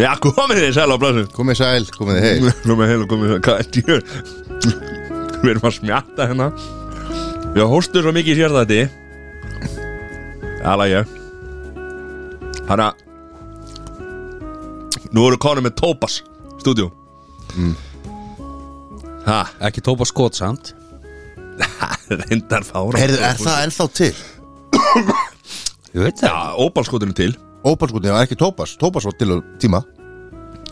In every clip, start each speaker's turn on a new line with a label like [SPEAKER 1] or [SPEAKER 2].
[SPEAKER 1] Já, komið þið sæl á blassu
[SPEAKER 2] Komið sæl, komið þið heil
[SPEAKER 1] Komið heil og komið sæl Hvað er djur? Við erum að smjatta hérna Já, hóstur svo mikið sér þetta Jala ég Hanna Nú eru konum með Tópas Stúdíu Ha,
[SPEAKER 3] Ekki tópa skot samt
[SPEAKER 1] reyndar fára
[SPEAKER 2] Heyrðu, er það ennþá til?
[SPEAKER 3] Ég veit
[SPEAKER 1] Já, óbalskotinu til
[SPEAKER 2] Óbalskotni, það er ekki Tópas Tópas var til á tíma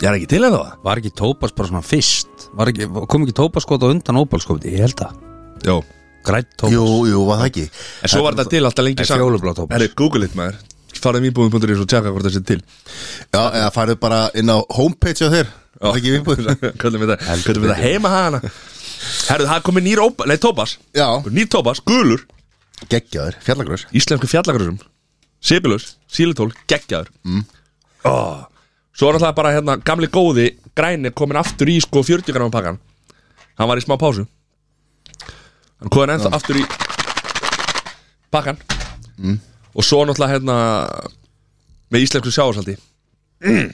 [SPEAKER 1] Ég er ekki til en það
[SPEAKER 3] Var ekki tópas bara svona fyrst Var ekki, Kom ekki tópa skot á undan óbálskoti Ég held að
[SPEAKER 1] Jó
[SPEAKER 3] Grætt tópas
[SPEAKER 2] Jú, jú, var það ekki
[SPEAKER 1] En svo var þetta til alltaf lengi
[SPEAKER 3] Nei, fjólublá Tópas.
[SPEAKER 1] Herri, Google it maður Farðum íbúðum.is og tjekka hvort það sé til
[SPEAKER 2] Já, eða farið bara inn á homepage á þér
[SPEAKER 1] Já.
[SPEAKER 2] Það er ekki viðbúð
[SPEAKER 1] Kallum við það Kallum við það heima hana Herðu, það er komið nýr ópa Nei, Tóbas
[SPEAKER 2] Já,
[SPEAKER 1] Nýr Tóbas, gulur
[SPEAKER 2] geggjaður, fjallagröðs
[SPEAKER 1] Íslensku fjallagröðsum Sibilus, sílitól, geggjaður mm. oh, Svo er alltaf bara hérna Gamli góði, græni Komin aftur í sko 40 gráma pakkan Hann var í smá pásu Hann komin ennþá aftur í Pakkan Og svo náttúrulega hérna Með íslensku sjáarsaldi Mm.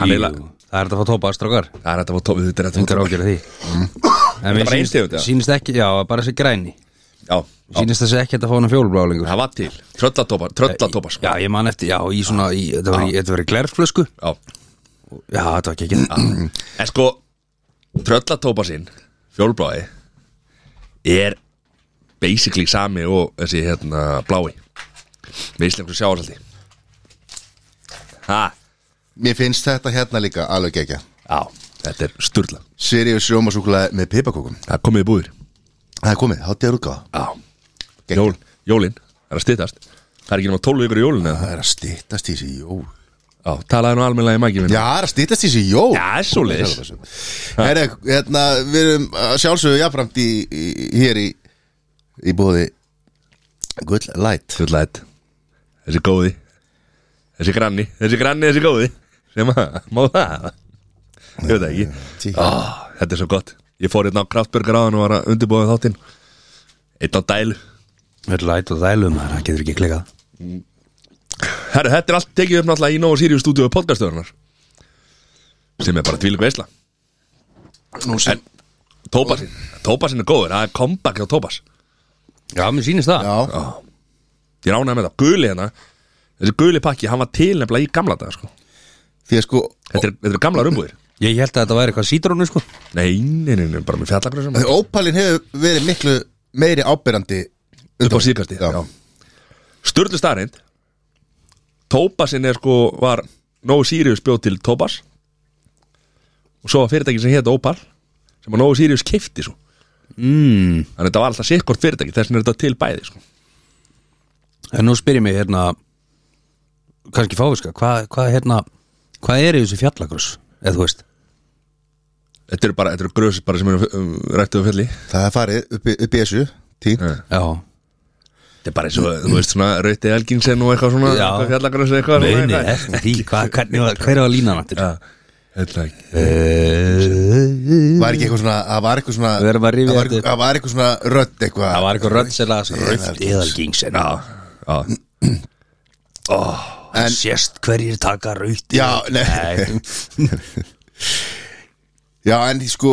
[SPEAKER 1] Hann
[SPEAKER 3] Jú,
[SPEAKER 1] eiginlega-
[SPEAKER 3] Það er þetta að fá tópas, strákar
[SPEAKER 1] Það er þetta var tófið Þetta er þetta
[SPEAKER 3] Engar
[SPEAKER 1] var
[SPEAKER 3] ágjörði því En mér
[SPEAKER 1] bara ein tegund,
[SPEAKER 3] sýnist,
[SPEAKER 1] já.
[SPEAKER 3] sýnist ekki Já, bara þessi græni
[SPEAKER 1] tófið Já,
[SPEAKER 3] Sýnist þessi ekki hægt að fá hana fjólublá lengur
[SPEAKER 1] Það var til, tröllatópar, tröllatópar sko.
[SPEAKER 3] Já, ég man eftir, já, í svona í, Þetta var í, þetta var í glerflösku
[SPEAKER 1] Já.
[SPEAKER 3] Já, þetta var ekki ekki
[SPEAKER 1] En sko, tröllatópar sinn, fjólbláði Er basically sami og þessi hérna blái Með íslensku sjáarsaldi Ha,
[SPEAKER 2] Mér finnst þetta hérna líka alveg geggja
[SPEAKER 1] já, þetta er sturla
[SPEAKER 2] Sirius Sjómasúkulega með pipakókum
[SPEAKER 1] Það er komið í búðir
[SPEAKER 2] Það er komið, hátíðar útgáða
[SPEAKER 1] Já, Jól, jólin, það er að styttast Það er ekki nema 12 vikur í jólin eða?
[SPEAKER 2] Það er að stýttast í þessi jól
[SPEAKER 1] Já, talaði nú almennilega í mækjum
[SPEAKER 2] Já, það er að stýttast í þessi jól
[SPEAKER 1] Já, það er svo leiðis
[SPEAKER 2] Herra, hérna, við erum að sjálfsögðu jafnframt í, í, hér í, í bóði Gull Light
[SPEAKER 1] Sjöldlætt Þessi góði Þessi granni Þessi granni, þessi góði Sem að, má það Ég veit það ekki
[SPEAKER 2] Tí-
[SPEAKER 1] Ó, Þetta er svo gott Ég fór hérna á Kraftbjörgar áðan og var að undirbúa þáttinn Eitt á dælu
[SPEAKER 3] Þetta læt og þælum, það getur ekki klikað
[SPEAKER 1] Herru, þetta er allt tekið upp náttúrulega í Nóa Sirius stúdíu podcastöðunar Sem er bara tvílík veisla
[SPEAKER 2] Nú sem
[SPEAKER 1] Tóbasinn, Tóbasinn er góður Það er comeback á Tóbas
[SPEAKER 3] Já, mér sýnist það
[SPEAKER 2] Já,
[SPEAKER 1] Ég ránaði með það Guli hérna Þessi guli pakki, hann var til nefnilega í gamla dag sko.
[SPEAKER 2] því að sko
[SPEAKER 1] Þetta er, þetta er gamla rumbúðir
[SPEAKER 3] Ég held að þetta væri eitthvað sítrónu, sko
[SPEAKER 1] Nei, nei, nei, nei, bara með fjallagröðsum
[SPEAKER 2] því Ópalin hefur verið miklu meiri ábyrrandi
[SPEAKER 1] upp á síkasti
[SPEAKER 2] Já.
[SPEAKER 1] Sturlu starind Tóbasinn er sko var Nóu Sirius bjóð til Tóbas og svo var fyrirtæki sem hétt Opal sem að Nóu Sirius keifti svo
[SPEAKER 3] mm.
[SPEAKER 1] þannig að þetta var alltaf sikkort fyrirtæki þess vegna er þetta til bæði sko.
[SPEAKER 3] En nú spyr ég mig hérna kannski fáviska, hvað hva, hérna hvað er í þessu fjallagröss, eða þú veist
[SPEAKER 1] þetta eru bara, þetta eru gröðs bara sem eru um, rættuðu fjalli
[SPEAKER 2] Það er farið upp í, upp í þessu tínt
[SPEAKER 1] Já.
[SPEAKER 3] Já,
[SPEAKER 1] þetta er bara eins og, þú veist, svona Rauti Elginsen og eitthvað svona
[SPEAKER 3] Já.
[SPEAKER 1] fjallagröðs eitthvað svona,
[SPEAKER 3] meini
[SPEAKER 1] eitthvað.
[SPEAKER 3] eftir því hva, hvernig, var- hver var línan aftur? Eh,
[SPEAKER 1] Já. Þetta er ekki-
[SPEAKER 3] Það
[SPEAKER 2] Var ekki eitthvað svona Það var eitthvað svona
[SPEAKER 3] Við erum að rifja
[SPEAKER 2] það var-
[SPEAKER 3] þetta upp.
[SPEAKER 2] Það var eitthvað svona rödd eitthvað
[SPEAKER 3] var eitthvað röndselega röft eðalgingsen
[SPEAKER 1] Já, já.
[SPEAKER 2] En-
[SPEAKER 3] sést hverjir taka röft
[SPEAKER 2] Já, nei. Já, en því sko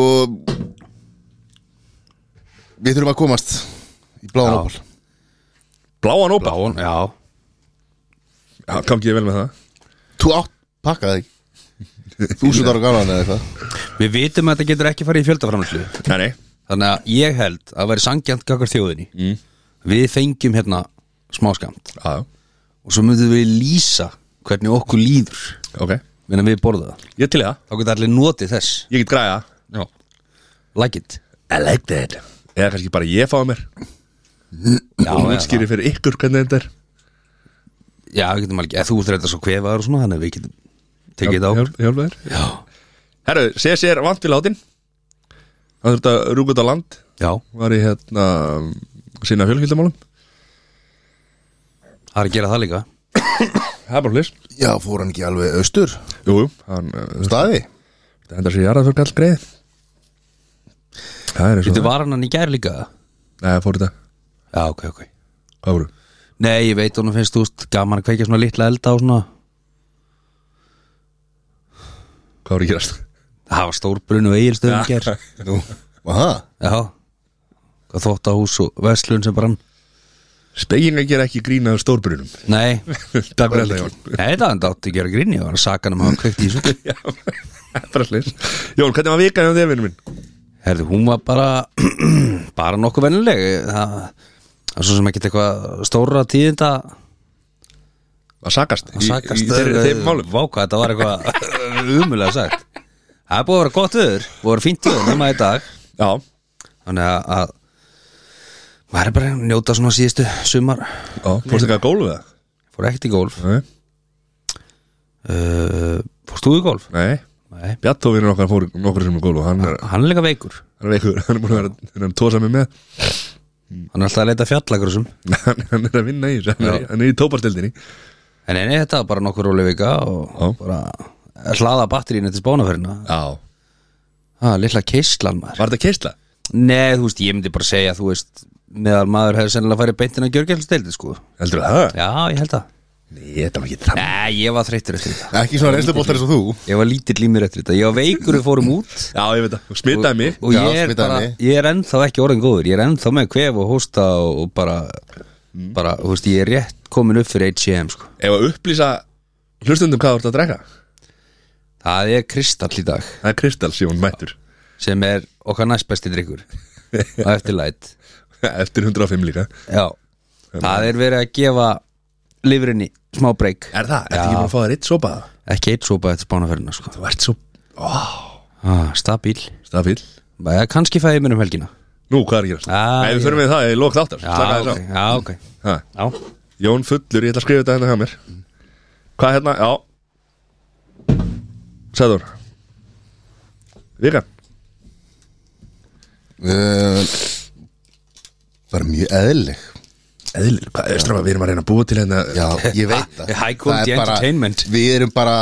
[SPEAKER 2] Við þurfum að komast Í bláðan
[SPEAKER 3] Já.
[SPEAKER 2] ópal
[SPEAKER 1] Bláan Opal
[SPEAKER 3] Bláun, já
[SPEAKER 1] Já, kom ekki vel með það
[SPEAKER 2] Þú átt pakkaði ekki Þúsund ára gaman eða eitthvað
[SPEAKER 3] Við vitum að þetta getur ekki farið í fjöldaframlislu
[SPEAKER 1] Nei, nei,
[SPEAKER 3] þannig að ég held að væri sangjant gagvart þjóðinni mm. við fengjum hérna smáskamt
[SPEAKER 1] já, já,
[SPEAKER 3] og svo myndum við lýsa hvernig okkur líður
[SPEAKER 1] ok
[SPEAKER 3] meðan við borðum það
[SPEAKER 1] Ég til í það,
[SPEAKER 3] þá getur allir notið þess
[SPEAKER 1] ég get græða
[SPEAKER 3] Já. like it
[SPEAKER 1] I like that Eða kannski bara ég fá mér og
[SPEAKER 3] já, eða það.
[SPEAKER 1] útskýri fyrir ykkur hvernig þetta er
[SPEAKER 3] já, við getum alveg, eða þú ert þetta svo kvefaður og svona þannig að við getum tekið þetta á
[SPEAKER 1] Hjálp- Hjálpa þér
[SPEAKER 3] já,
[SPEAKER 1] Herru, CC er vant við látin Hann þurfti að rúka út á land
[SPEAKER 3] já,
[SPEAKER 1] Var í hérna Sýna fjölskyldamálum
[SPEAKER 3] það er að gera það líka
[SPEAKER 1] Það er bara hlýs
[SPEAKER 2] Já, fór hann ekki alveg austur
[SPEAKER 1] Jú, jú Hann uh,
[SPEAKER 2] Staði
[SPEAKER 1] hendar sér í aðra þurfti all greið Það er eins og
[SPEAKER 3] getur
[SPEAKER 1] það
[SPEAKER 3] var hann hann í gær líka
[SPEAKER 1] Nei, fór þetta
[SPEAKER 3] já, ok, ok
[SPEAKER 1] Hvað voru?
[SPEAKER 3] nei, ég veit honum finnst þú veist gaman að kveikja svona litla elda og svona
[SPEAKER 1] Hvað var að gerast?
[SPEAKER 3] Það var stórbrun og eigilstöðum ger
[SPEAKER 2] Nú, aha
[SPEAKER 3] Já Hvað þóttahús og verslun sem brann
[SPEAKER 1] Speginga gera ekki grínaðu stórbrunum
[SPEAKER 3] Nei,
[SPEAKER 1] Takk fyrir þetta Jón
[SPEAKER 3] Nei þetta hann átti ekki að gera grinni og hann sakan um að hafa kveikt í þessu
[SPEAKER 1] Já, bara slis Jón, hvernig var vikan hjá þér, vinnum minn?
[SPEAKER 3] Herði, hún var bara bara nokkuð vennileg það, það er svo sem ekkert eitthvað stóra tíðinda
[SPEAKER 1] Að sakast eh,
[SPEAKER 3] að sakast
[SPEAKER 1] í, í, þeir, þeir málum
[SPEAKER 3] Váka, þetta var eitthvað umulega sagt Það er búið að vera gott öður búið að vera fínt öður nema í dag
[SPEAKER 1] Já,
[SPEAKER 3] þannig að, að maður er bara að njóta svona síðustu sumar
[SPEAKER 1] já fórstu ekki að gólu það?
[SPEAKER 3] fór ekkert í golf
[SPEAKER 1] Nei,
[SPEAKER 3] uh, fórst þú í golf?
[SPEAKER 1] Nei.
[SPEAKER 3] Nei,
[SPEAKER 1] Bjartóvinur okkar fór nokkur sem er gólu Hann er,
[SPEAKER 3] hann er líka veikur
[SPEAKER 1] hann er veikur, hann er búin að vera hann er að tósa mig með Mm.
[SPEAKER 3] hann er alltaf að leita fjallagrúsum
[SPEAKER 1] hann, hann er að vinna í þessu, hann, er- hann er í tóparstildinni
[SPEAKER 3] en enni þetta var bara nokkur róli vika og
[SPEAKER 1] Já.
[SPEAKER 3] bara að hlaða batterínu til spánaferina
[SPEAKER 1] Já,
[SPEAKER 3] það er lilla keislan maður
[SPEAKER 1] var þetta keisla?
[SPEAKER 3] Nei, þú veist, ég myndi bara segja, þú veist meðal maður hefur sennilega farið beintin að gjörgjörnsteldi sko.
[SPEAKER 1] Heldur það?
[SPEAKER 3] já, ég held að
[SPEAKER 1] Nei, þetta var ekki þannig
[SPEAKER 3] Nei, ég var þreyttur eftir þetta
[SPEAKER 2] Ekki svona reynsluboltar eins og þú
[SPEAKER 3] ég var lítill í mér eftir þetta, ég var veikur við fórum út
[SPEAKER 1] Já, ég veit það, smitaði mig
[SPEAKER 3] og
[SPEAKER 2] Já,
[SPEAKER 3] ég er,
[SPEAKER 2] smitaði
[SPEAKER 3] bara,
[SPEAKER 2] mig.
[SPEAKER 3] ég er ennþá ekki orðin góður ég er ennþá með kvef og hósta og, og bara, bara, þú veist, ég er rétt komin upp fyrir HCM, sko
[SPEAKER 1] Ef að upplýsa hlustundum hvað þú ert að drekka
[SPEAKER 3] það er kristall í dag,
[SPEAKER 1] Það er Kristals, Jón, mættur
[SPEAKER 3] sem er okkar næst besti drikkur á eftirlæt
[SPEAKER 1] Eftir 105 líka
[SPEAKER 3] já, það er verið að gefa lifrinni smá breyk
[SPEAKER 1] Er það? Ertu ekki búin að fá þér eitt sopa?
[SPEAKER 3] ekki eitt sopa eftir spánaferðina, sko
[SPEAKER 1] Þú ert svo
[SPEAKER 3] ah, stabíl,
[SPEAKER 1] Stafíl
[SPEAKER 3] Bæja, kannski fæði mér um helgina
[SPEAKER 1] Nú, hvað er að gerast?
[SPEAKER 3] Ah,
[SPEAKER 1] Nei,
[SPEAKER 3] ég-
[SPEAKER 1] við förum við það, ég lók þáttar
[SPEAKER 3] já,
[SPEAKER 1] Slaka
[SPEAKER 3] ok,
[SPEAKER 1] þess
[SPEAKER 3] já, ok
[SPEAKER 1] á Ha,
[SPEAKER 3] já.
[SPEAKER 1] Jón Fullur, ég ætla að skrifa þetta hérna hjá mér Hvað hérna, já Sæður Vikan
[SPEAKER 2] uh, Bara mjög eðlileg
[SPEAKER 1] Eðlir, hvað er strafa, við erum að reyna að búa til hérna
[SPEAKER 2] Já, ég veit það
[SPEAKER 3] High quality
[SPEAKER 2] Það er bara-
[SPEAKER 3] entertainment.
[SPEAKER 2] Við erum bara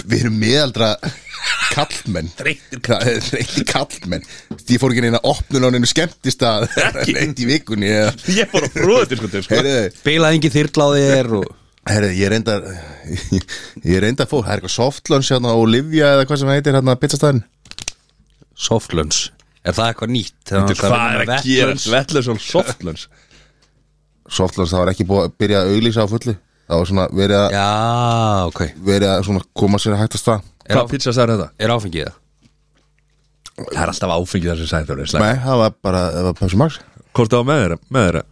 [SPEAKER 2] Við erum miðaldra kallmenn
[SPEAKER 1] Þreyttir
[SPEAKER 2] kallmenn Þreytir kallmenn eh, Ég fór ekki neina opnun á neinu skemmtist að
[SPEAKER 1] Ekki.
[SPEAKER 2] Neitt í vikunni eða-
[SPEAKER 1] Ég fór að fróða til sko, sko.
[SPEAKER 2] Heyrðu,
[SPEAKER 3] bilaði engin þyrla á þér og
[SPEAKER 2] heyrðu, ég reyndar Ég reyndar fór, það er eitthvað softlunch hérna á Olivia eða hvað sem heitir hérna pizzastæðin
[SPEAKER 3] softlunch er það eitthvað nýtt? Það
[SPEAKER 1] Hvað er að gera
[SPEAKER 3] vetlunch.
[SPEAKER 1] Vettlunds og softlunds
[SPEAKER 2] Softlunch, það var ekki búið að byrja að auglýsa á fullu Það var svona verið að,
[SPEAKER 3] Já, ok
[SPEAKER 2] verið að svona koma sér að hægt að stað
[SPEAKER 1] Hvað pizza sagði þetta?
[SPEAKER 3] Er áfengið það?
[SPEAKER 1] Það er alltaf áfengið þar sem sagði þér
[SPEAKER 2] Nei, það var bara, það var Pepsi Max
[SPEAKER 1] Hvort það var með þeirra, með þeirra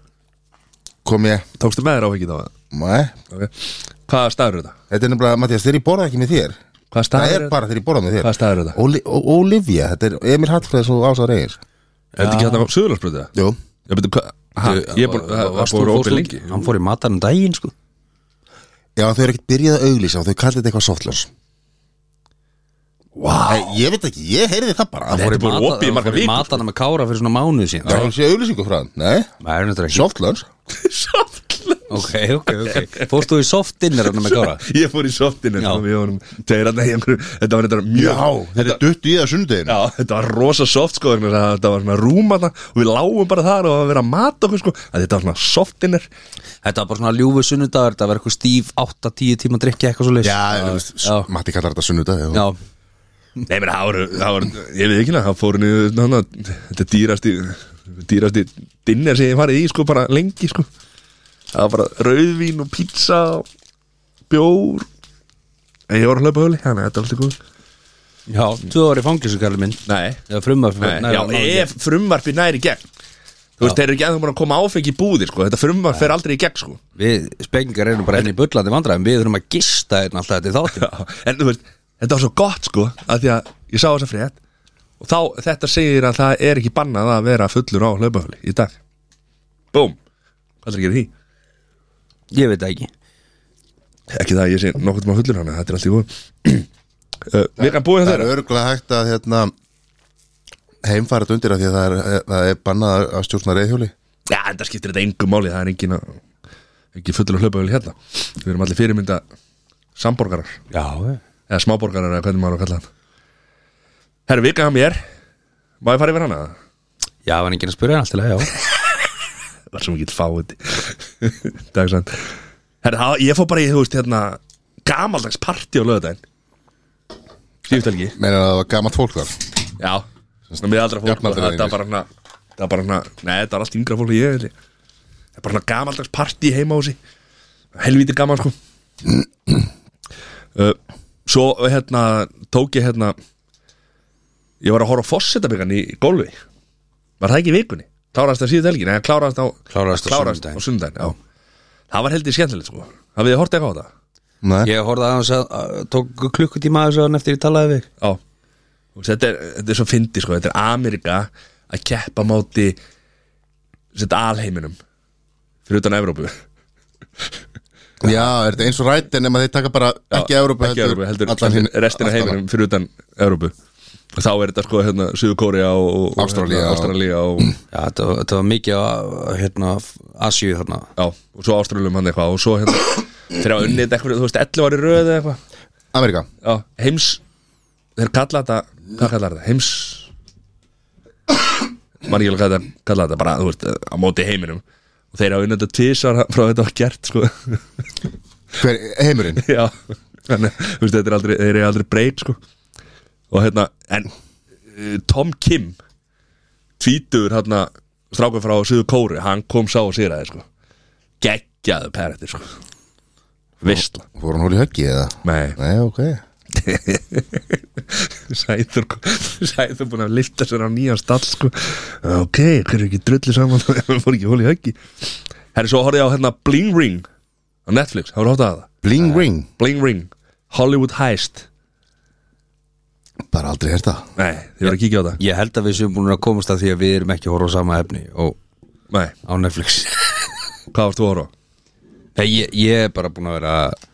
[SPEAKER 2] Kom ég,
[SPEAKER 1] Tókstu með þeirra áfengið á það?
[SPEAKER 2] nei
[SPEAKER 1] Okay. Hvaða staður er þetta?
[SPEAKER 2] Þetta er nefnilega, Mattias, þeir ég borða ekki með þér
[SPEAKER 1] Hvaða
[SPEAKER 2] Það
[SPEAKER 1] staður
[SPEAKER 2] er bara þegar ég borða með þér
[SPEAKER 1] Hvaða staður er þetta?
[SPEAKER 2] Oli- Ó- Olivia, þetta er Emil Hallfræðs og Ása Reyes
[SPEAKER 1] Er þetta ekki hérna á Suðurlandsbröðu?
[SPEAKER 2] Jú
[SPEAKER 1] Ég betur hvað Ha, Ég er búin
[SPEAKER 3] uh,
[SPEAKER 1] Það það
[SPEAKER 3] Varstu
[SPEAKER 1] búin
[SPEAKER 3] fórstu
[SPEAKER 1] opið
[SPEAKER 3] út?
[SPEAKER 1] lengi
[SPEAKER 3] Hann fór í matanum daginn sko
[SPEAKER 2] Já, þau eru ekkert byrjað að auglýsa og þau kallir þetta eitthvað softlans
[SPEAKER 1] Vá
[SPEAKER 2] Nei, ég veit ekki, ég heyrði það bara Það
[SPEAKER 1] Þetta er
[SPEAKER 2] voru
[SPEAKER 1] búin
[SPEAKER 3] Mata-
[SPEAKER 1] opið í marga
[SPEAKER 3] Hann fór í
[SPEAKER 1] vikur,
[SPEAKER 3] matanum með kára fyrir svona mánuð síðan
[SPEAKER 2] Það er ekki auglýsingu frá hann, nei
[SPEAKER 3] Það er náttúrulega ekki
[SPEAKER 2] Softlans
[SPEAKER 1] Softlunds
[SPEAKER 3] Ok, ok, ok Fórstu þú í softdinner hann með kára?
[SPEAKER 1] Ég fór í softinu sko,
[SPEAKER 3] Já.
[SPEAKER 1] Við honum Þegar hann einhverju Þetta var þetta
[SPEAKER 2] Já,
[SPEAKER 1] mjög
[SPEAKER 2] þetta er dutt í það sundeginu
[SPEAKER 1] Já, þetta var rosa soft sko vegna þess að Þetta var svona rúmana Og við lágum bara þar og það var verið að mata okkur sko að Þetta var svona softinir
[SPEAKER 3] Þetta var bara svona ljúfu sunnudagur Þetta var eitthvað stíf 8-10 tíma að drikja eitthvað svo leys
[SPEAKER 2] Já,
[SPEAKER 3] já.
[SPEAKER 2] já. Matti kallar þetta sunnudag
[SPEAKER 3] já
[SPEAKER 1] Nei, menn, það voru, það voru Ég veit ekki hérna Það fóru niður hana, Þetta er dýrasti Dýrasti dinner sem ég hef farið í sko Bara lengi sko Það var bara rauðvín og pizza og Bjór En ég var að hlaupa höfli Þannig að þetta er alltaf góð
[SPEAKER 3] Já, tvö ári fanglisur kallir minn
[SPEAKER 1] Nei,
[SPEAKER 3] Eða frumar
[SPEAKER 1] Nei Já, ef frumvarpi næri gegn Þú veist, þeir eru ekki að það búin að koma áfengi í búðir sko Þetta frumvarp fer aldrei í gegn sko
[SPEAKER 3] Við spengingar erum bara henni í bullandi vandræðum Við þurfum að gista einn alltaf þetta í þáttum
[SPEAKER 1] En þú veist, þetta var svo gott sko að Því að ég sá þessa frétt Og þá, þetta segir að það er ekki bannað að vera fullur á hlaupahöfli í dag Búm Hvað er að gera í því?
[SPEAKER 3] Ég veit það ekki
[SPEAKER 1] Ekki það að ég sé nokkuð tíma fullur hana Þetta er allt í góð uh, Við kanum búið hjá
[SPEAKER 2] Það er
[SPEAKER 1] þeirra
[SPEAKER 2] örgulega hægt að hérna, heimfærat undir að því að það er, eh, það er bannað að stjórna reyðhjóli
[SPEAKER 1] Já, en það skiptir þetta engum máli Það er engin að Ekki fullur á hlaupahöfli hérna Við erum allir fyrirmynda samborgarar
[SPEAKER 3] Já,
[SPEAKER 1] eða smáborgarar eða hvernig maður á að kalla hann Herru, vika hann mér Má ég fara yfir hana?
[SPEAKER 3] já, var enginn að spyrja hann alltaf, já
[SPEAKER 1] Það var svo mikið fáið Takk sann Herru, þá- ég fór bara í, þú veist, hérna gamaldags partí á lögudaginn Síðustelgi
[SPEAKER 2] Meina að það var gamalt fólk þar
[SPEAKER 1] Já, svona miðaldra fólk og
[SPEAKER 2] Jafnaldra
[SPEAKER 1] Þetta
[SPEAKER 2] þínir.
[SPEAKER 1] var bara hana Það var bara hana, nei þetta var allt yngra fólk og ég held ég. Það er bara hana gamaldags partí heima á sig Helvíti gaman sko uh, Svo hérna Tók ég hérna Ég var að horfa á fossetabyggan í gólfi Var það ekki í vikunni? Klárast það síðu telgin, eða klárast á
[SPEAKER 3] Kláraðist á
[SPEAKER 1] kláraðist
[SPEAKER 3] sunnudaginn.
[SPEAKER 1] á sunnudaginn Já, það var heldur skemmtilegt sko Það við hortið eitthvað á það
[SPEAKER 2] Nei,
[SPEAKER 3] Ég horfði aðeins að, að tók klukkutíma aðeins að hann eftir ég talaði við
[SPEAKER 1] Já Og þetta er, þetta er svo fyndi sko Þetta er Amerika að keppa á móti Þetta alheiminum Fyrir utan Evrópu Já,
[SPEAKER 2] Já, er þetta eins og rætt en nema þeir taka bara ekki Európa
[SPEAKER 1] Ekki Evrópu, heldur
[SPEAKER 2] allan hinn-
[SPEAKER 1] restina
[SPEAKER 2] allt
[SPEAKER 1] heiminum fyrir utan Evrópu Og þá er þetta sko hérna Suður Kórea og, og- og
[SPEAKER 2] Ástralía
[SPEAKER 1] hérna,
[SPEAKER 2] og-
[SPEAKER 1] Ástralía og,
[SPEAKER 3] Já, þetta, var- þetta var mikið á hérna, Asíu þarna
[SPEAKER 1] Já, og svo Ástraljum hann eitthvað Og svo hérna Þeir hafa unnið þetta eitthvað, þú veist, 11 ári röð eða eitthvað
[SPEAKER 2] annan. Amerika
[SPEAKER 1] Já, heims Þeir kalla þetta, hvað kallar þetta? Heims Margil hvað þetta kalla þetta bara, þú veist, á móti heiminum og þeir hafa unnið þetta tvisar frá þetta var gert, sko
[SPEAKER 2] Hver, heimurinn
[SPEAKER 1] Já, þannig, þú veist, þetta er aldrei þeir eru aldrei breyt, sko og hérna, en uh, Tom Kim tvítur hérna strákur frá Suður Kóru, hann kom sá og sér aðeins, sko geggjaðu perættir, sko Vistla,
[SPEAKER 2] Fór hún hóli höggi eða?
[SPEAKER 1] nei
[SPEAKER 2] Nei, ok
[SPEAKER 1] Sæður, sæður búin að lifta sér á nýjan stall sko. Ok, hver er ekki drullu saman Það fór ekki hóli höggi Herri, svo horfði ég á hérna Bling Ring Á Netflix, hafa rátt að það
[SPEAKER 2] Bling ring
[SPEAKER 1] Bling Ring, Hollywood Heist
[SPEAKER 2] Bara aldrei hérta
[SPEAKER 1] Nei, þið verður að kíkja á það
[SPEAKER 3] Ég held að við séum búin að komast að því að við erum ekki að horfa á sama efni og
[SPEAKER 1] Nei,
[SPEAKER 3] á Netflix
[SPEAKER 1] hvað varst þú að horfa? á?
[SPEAKER 3] Nei, ég, ég er bara búin að vera að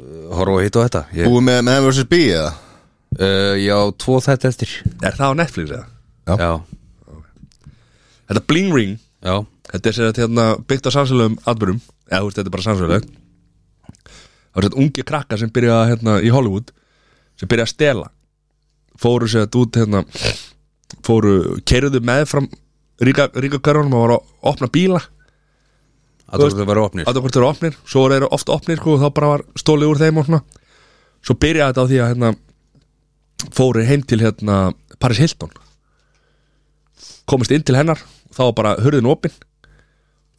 [SPEAKER 3] uh, horfa á hitt og þetta ég,
[SPEAKER 2] Búið með menn versus bí eða?
[SPEAKER 3] uh, Já, tvo þetta eftir
[SPEAKER 1] Er það á Netflix eða?
[SPEAKER 2] Já.
[SPEAKER 3] Já,
[SPEAKER 1] Þetta Bling Ring,
[SPEAKER 3] já,
[SPEAKER 1] þetta er sér að hérna byggt á sannsöluðum atbyrjum Eða, þú veist, þetta er bara sannsöluð Það var þetta ungi krakka sem byrjaði að, hérna í Hollywood sem byrjaði að stela fóru sér þetta út hérna fóru, keirðu með fram ríka, ríka körunum og var að opna bíla
[SPEAKER 3] að þú vera opnir
[SPEAKER 1] að hvort þeir eru opnir, svo eru þeir ofta opnir sko, og þá bara var stólið úr þeim og svona svo byrjaði þetta á því að hérna fóru heim til hérna Paris Hilton komist inn til hennar þá var bara hurðin opin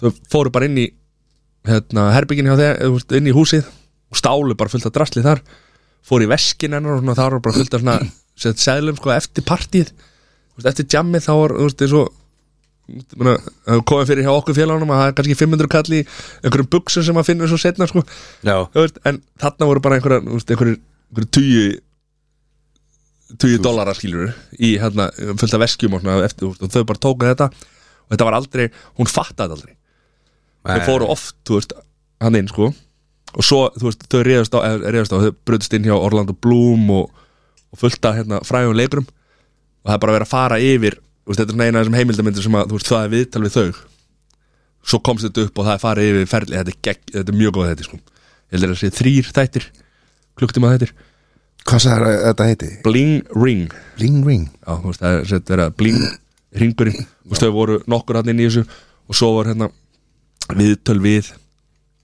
[SPEAKER 1] þau fóru bara inn í hérna, herbyggin hjá þeir, eða, þú veist, inn í húsið og stálu bara fullt af drasli þar fóru í veskin hennar og svona, þar var bara fullt af svona sem sagt, seðlum sko, eftir partíð Þú veist, eftir jammið þá var þú veist, eins og Muna, komið fyrir hjá okkur félagunum að það er kannski 500 kall í einhverjum buksum sem að finna svo setna sko.
[SPEAKER 3] Já,
[SPEAKER 1] Þú veist, en þarna voru bara einhverja þú veist, einhverjir einhverjir tugi tugi dólarar skilur í hérna, fullt af veskjum og, svona, eftir, þú veist, og þau bara tóku þetta og þetta var aldrei, hún fattaði þetta aldrei þau fóru oft, þú veist, hann inn sko og svo, þú veist, þau reyðast á, eða, reyðast á þau brutist inn hjá Orlando Bloom og, og fullt af hérna fræðum leikurum og það er bara verið að fara yfir þú veist, þetta er svona eina af þessum heimildamindir sem að þú veist, það er viðtal við þau svo komst þetta upp og það er farið yfir ferli þetta er, gegg, þetta er mjög góð þetta sko ég heldur að það sé þrýr þættir klukktíma þættir,
[SPEAKER 2] Hvað sagði þetta- þetta heiti?
[SPEAKER 1] Bling Ring
[SPEAKER 2] Bling ring
[SPEAKER 1] já, þú veist, það er sett verið að bling ringurinn, þú veist, þau voru nokkur hann inn í þessu og svo var hérna viðtöl við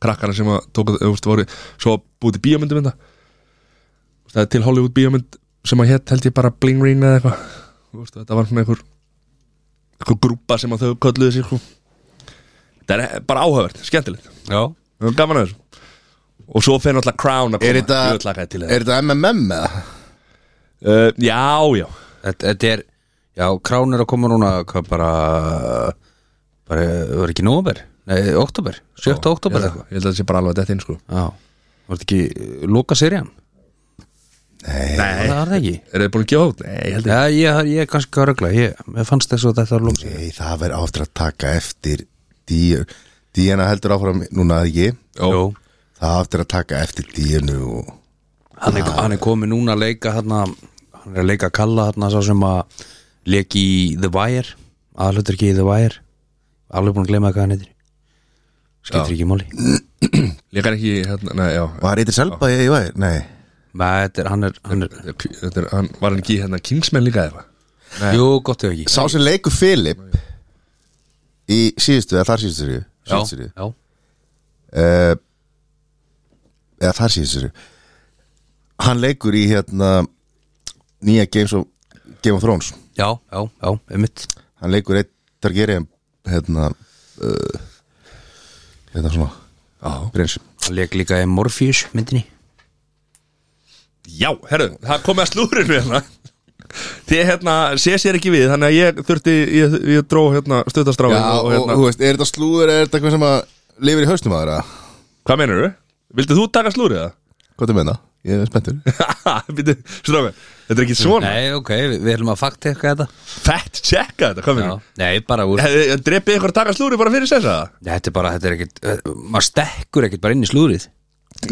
[SPEAKER 1] krakkana sem að tóka, þú veist, voru svo búið til bíómyndum þetta Þú veist, það er til Hollywood bíómynd sem að hétt held ég bara bling ring eða eitthvað Þú veist, þetta var svona einhver einhver grúpa sem að þau kölluðu sér sko. þetta er e, bara áhugavert skemmtilegt,
[SPEAKER 3] já
[SPEAKER 1] það var gaman að þessu og svo fyrir náttúrulega Crown að
[SPEAKER 2] Er
[SPEAKER 1] koma
[SPEAKER 2] þetta,
[SPEAKER 1] Ég vil lakaði til
[SPEAKER 2] er þetta MMM eða?
[SPEAKER 1] það uh, já, já,
[SPEAKER 3] Þetta þetta er, já, krán er að koma núna hvað bara bara, var ekki nóver Nei, oktober, 7. oktober
[SPEAKER 1] ég
[SPEAKER 3] eða
[SPEAKER 1] held að- ég held að þetta sé bara alveg þetta inn sko
[SPEAKER 3] eitthvað Já, var þetta ekki loka serían?
[SPEAKER 1] Nei,
[SPEAKER 3] Það var það ekki
[SPEAKER 1] Er þið búin að gefa út? Nei, ég held
[SPEAKER 3] Já, ég, ég er kannski að rögla, ég, mér fannst þess að þetta var loka serían
[SPEAKER 2] Nei, það verður aftur að taka eftir dýr Díana heldur áfram núna að ég
[SPEAKER 1] Jó.
[SPEAKER 2] Það er aftur að taka eftir dínu og
[SPEAKER 3] hann er, hann er komið núna að leika hérna, hann er að leika að kalla hérna sá sem að leik í The Wire aðlutur ekki í The Wire alveg búin að gleyma hvað hann heitir skiptir ekki máli
[SPEAKER 1] ekki Lekar ekki, hérna, nei, já
[SPEAKER 2] Var eitthvað selba ég, ég var, nei
[SPEAKER 3] Nei, þetta er, hann er, hann er
[SPEAKER 1] Þetta er, hann var hann ekki í hérna Kingsman líka eða?
[SPEAKER 3] jú, gott ef ekki
[SPEAKER 2] Sá sem leikur Filip Í síðustu, eða þar síðustu seríu, síðustu seríu,
[SPEAKER 3] já,
[SPEAKER 2] eh, Eða þar síðustu seríu. Hann leikur í hérna nýja Games of Game of Thrones
[SPEAKER 3] Já, já, já, einmitt
[SPEAKER 2] hann leikur eitt Targaryen hérna uh, hérna svona
[SPEAKER 1] Já.
[SPEAKER 2] prins
[SPEAKER 3] Hann leik líka í Morpheus myndinni
[SPEAKER 1] Já, herru, það komið að slúrinu hérna Þið hérna, sé sér ekki við Þannig að ég þurfti, ég, ég dró hérna
[SPEAKER 2] Já,
[SPEAKER 1] stuttastráin
[SPEAKER 2] og,
[SPEAKER 1] og, hérna,
[SPEAKER 2] þú veist, er þetta slúður eða er þetta eitthvað sem að lifir í hausnum aðra?
[SPEAKER 1] Hvað meinur þú? Vildið þú taka slúrið það?
[SPEAKER 2] Hvað það meina? Ég er spenntur
[SPEAKER 1] Býtu, stráka, þetta er ekki svona
[SPEAKER 3] Nei, ok, við, við erum að fakta eitthvað þetta
[SPEAKER 1] Fact checka þetta, hvað
[SPEAKER 3] já.
[SPEAKER 1] meinur þú?
[SPEAKER 3] Nei, bara úr
[SPEAKER 1] Drepið ykkur að taka slúrið bara fyrir sessa
[SPEAKER 3] Þetta er bara, þetta er ekkit eh, Maður stekkur ekkit bara inn í slúðrið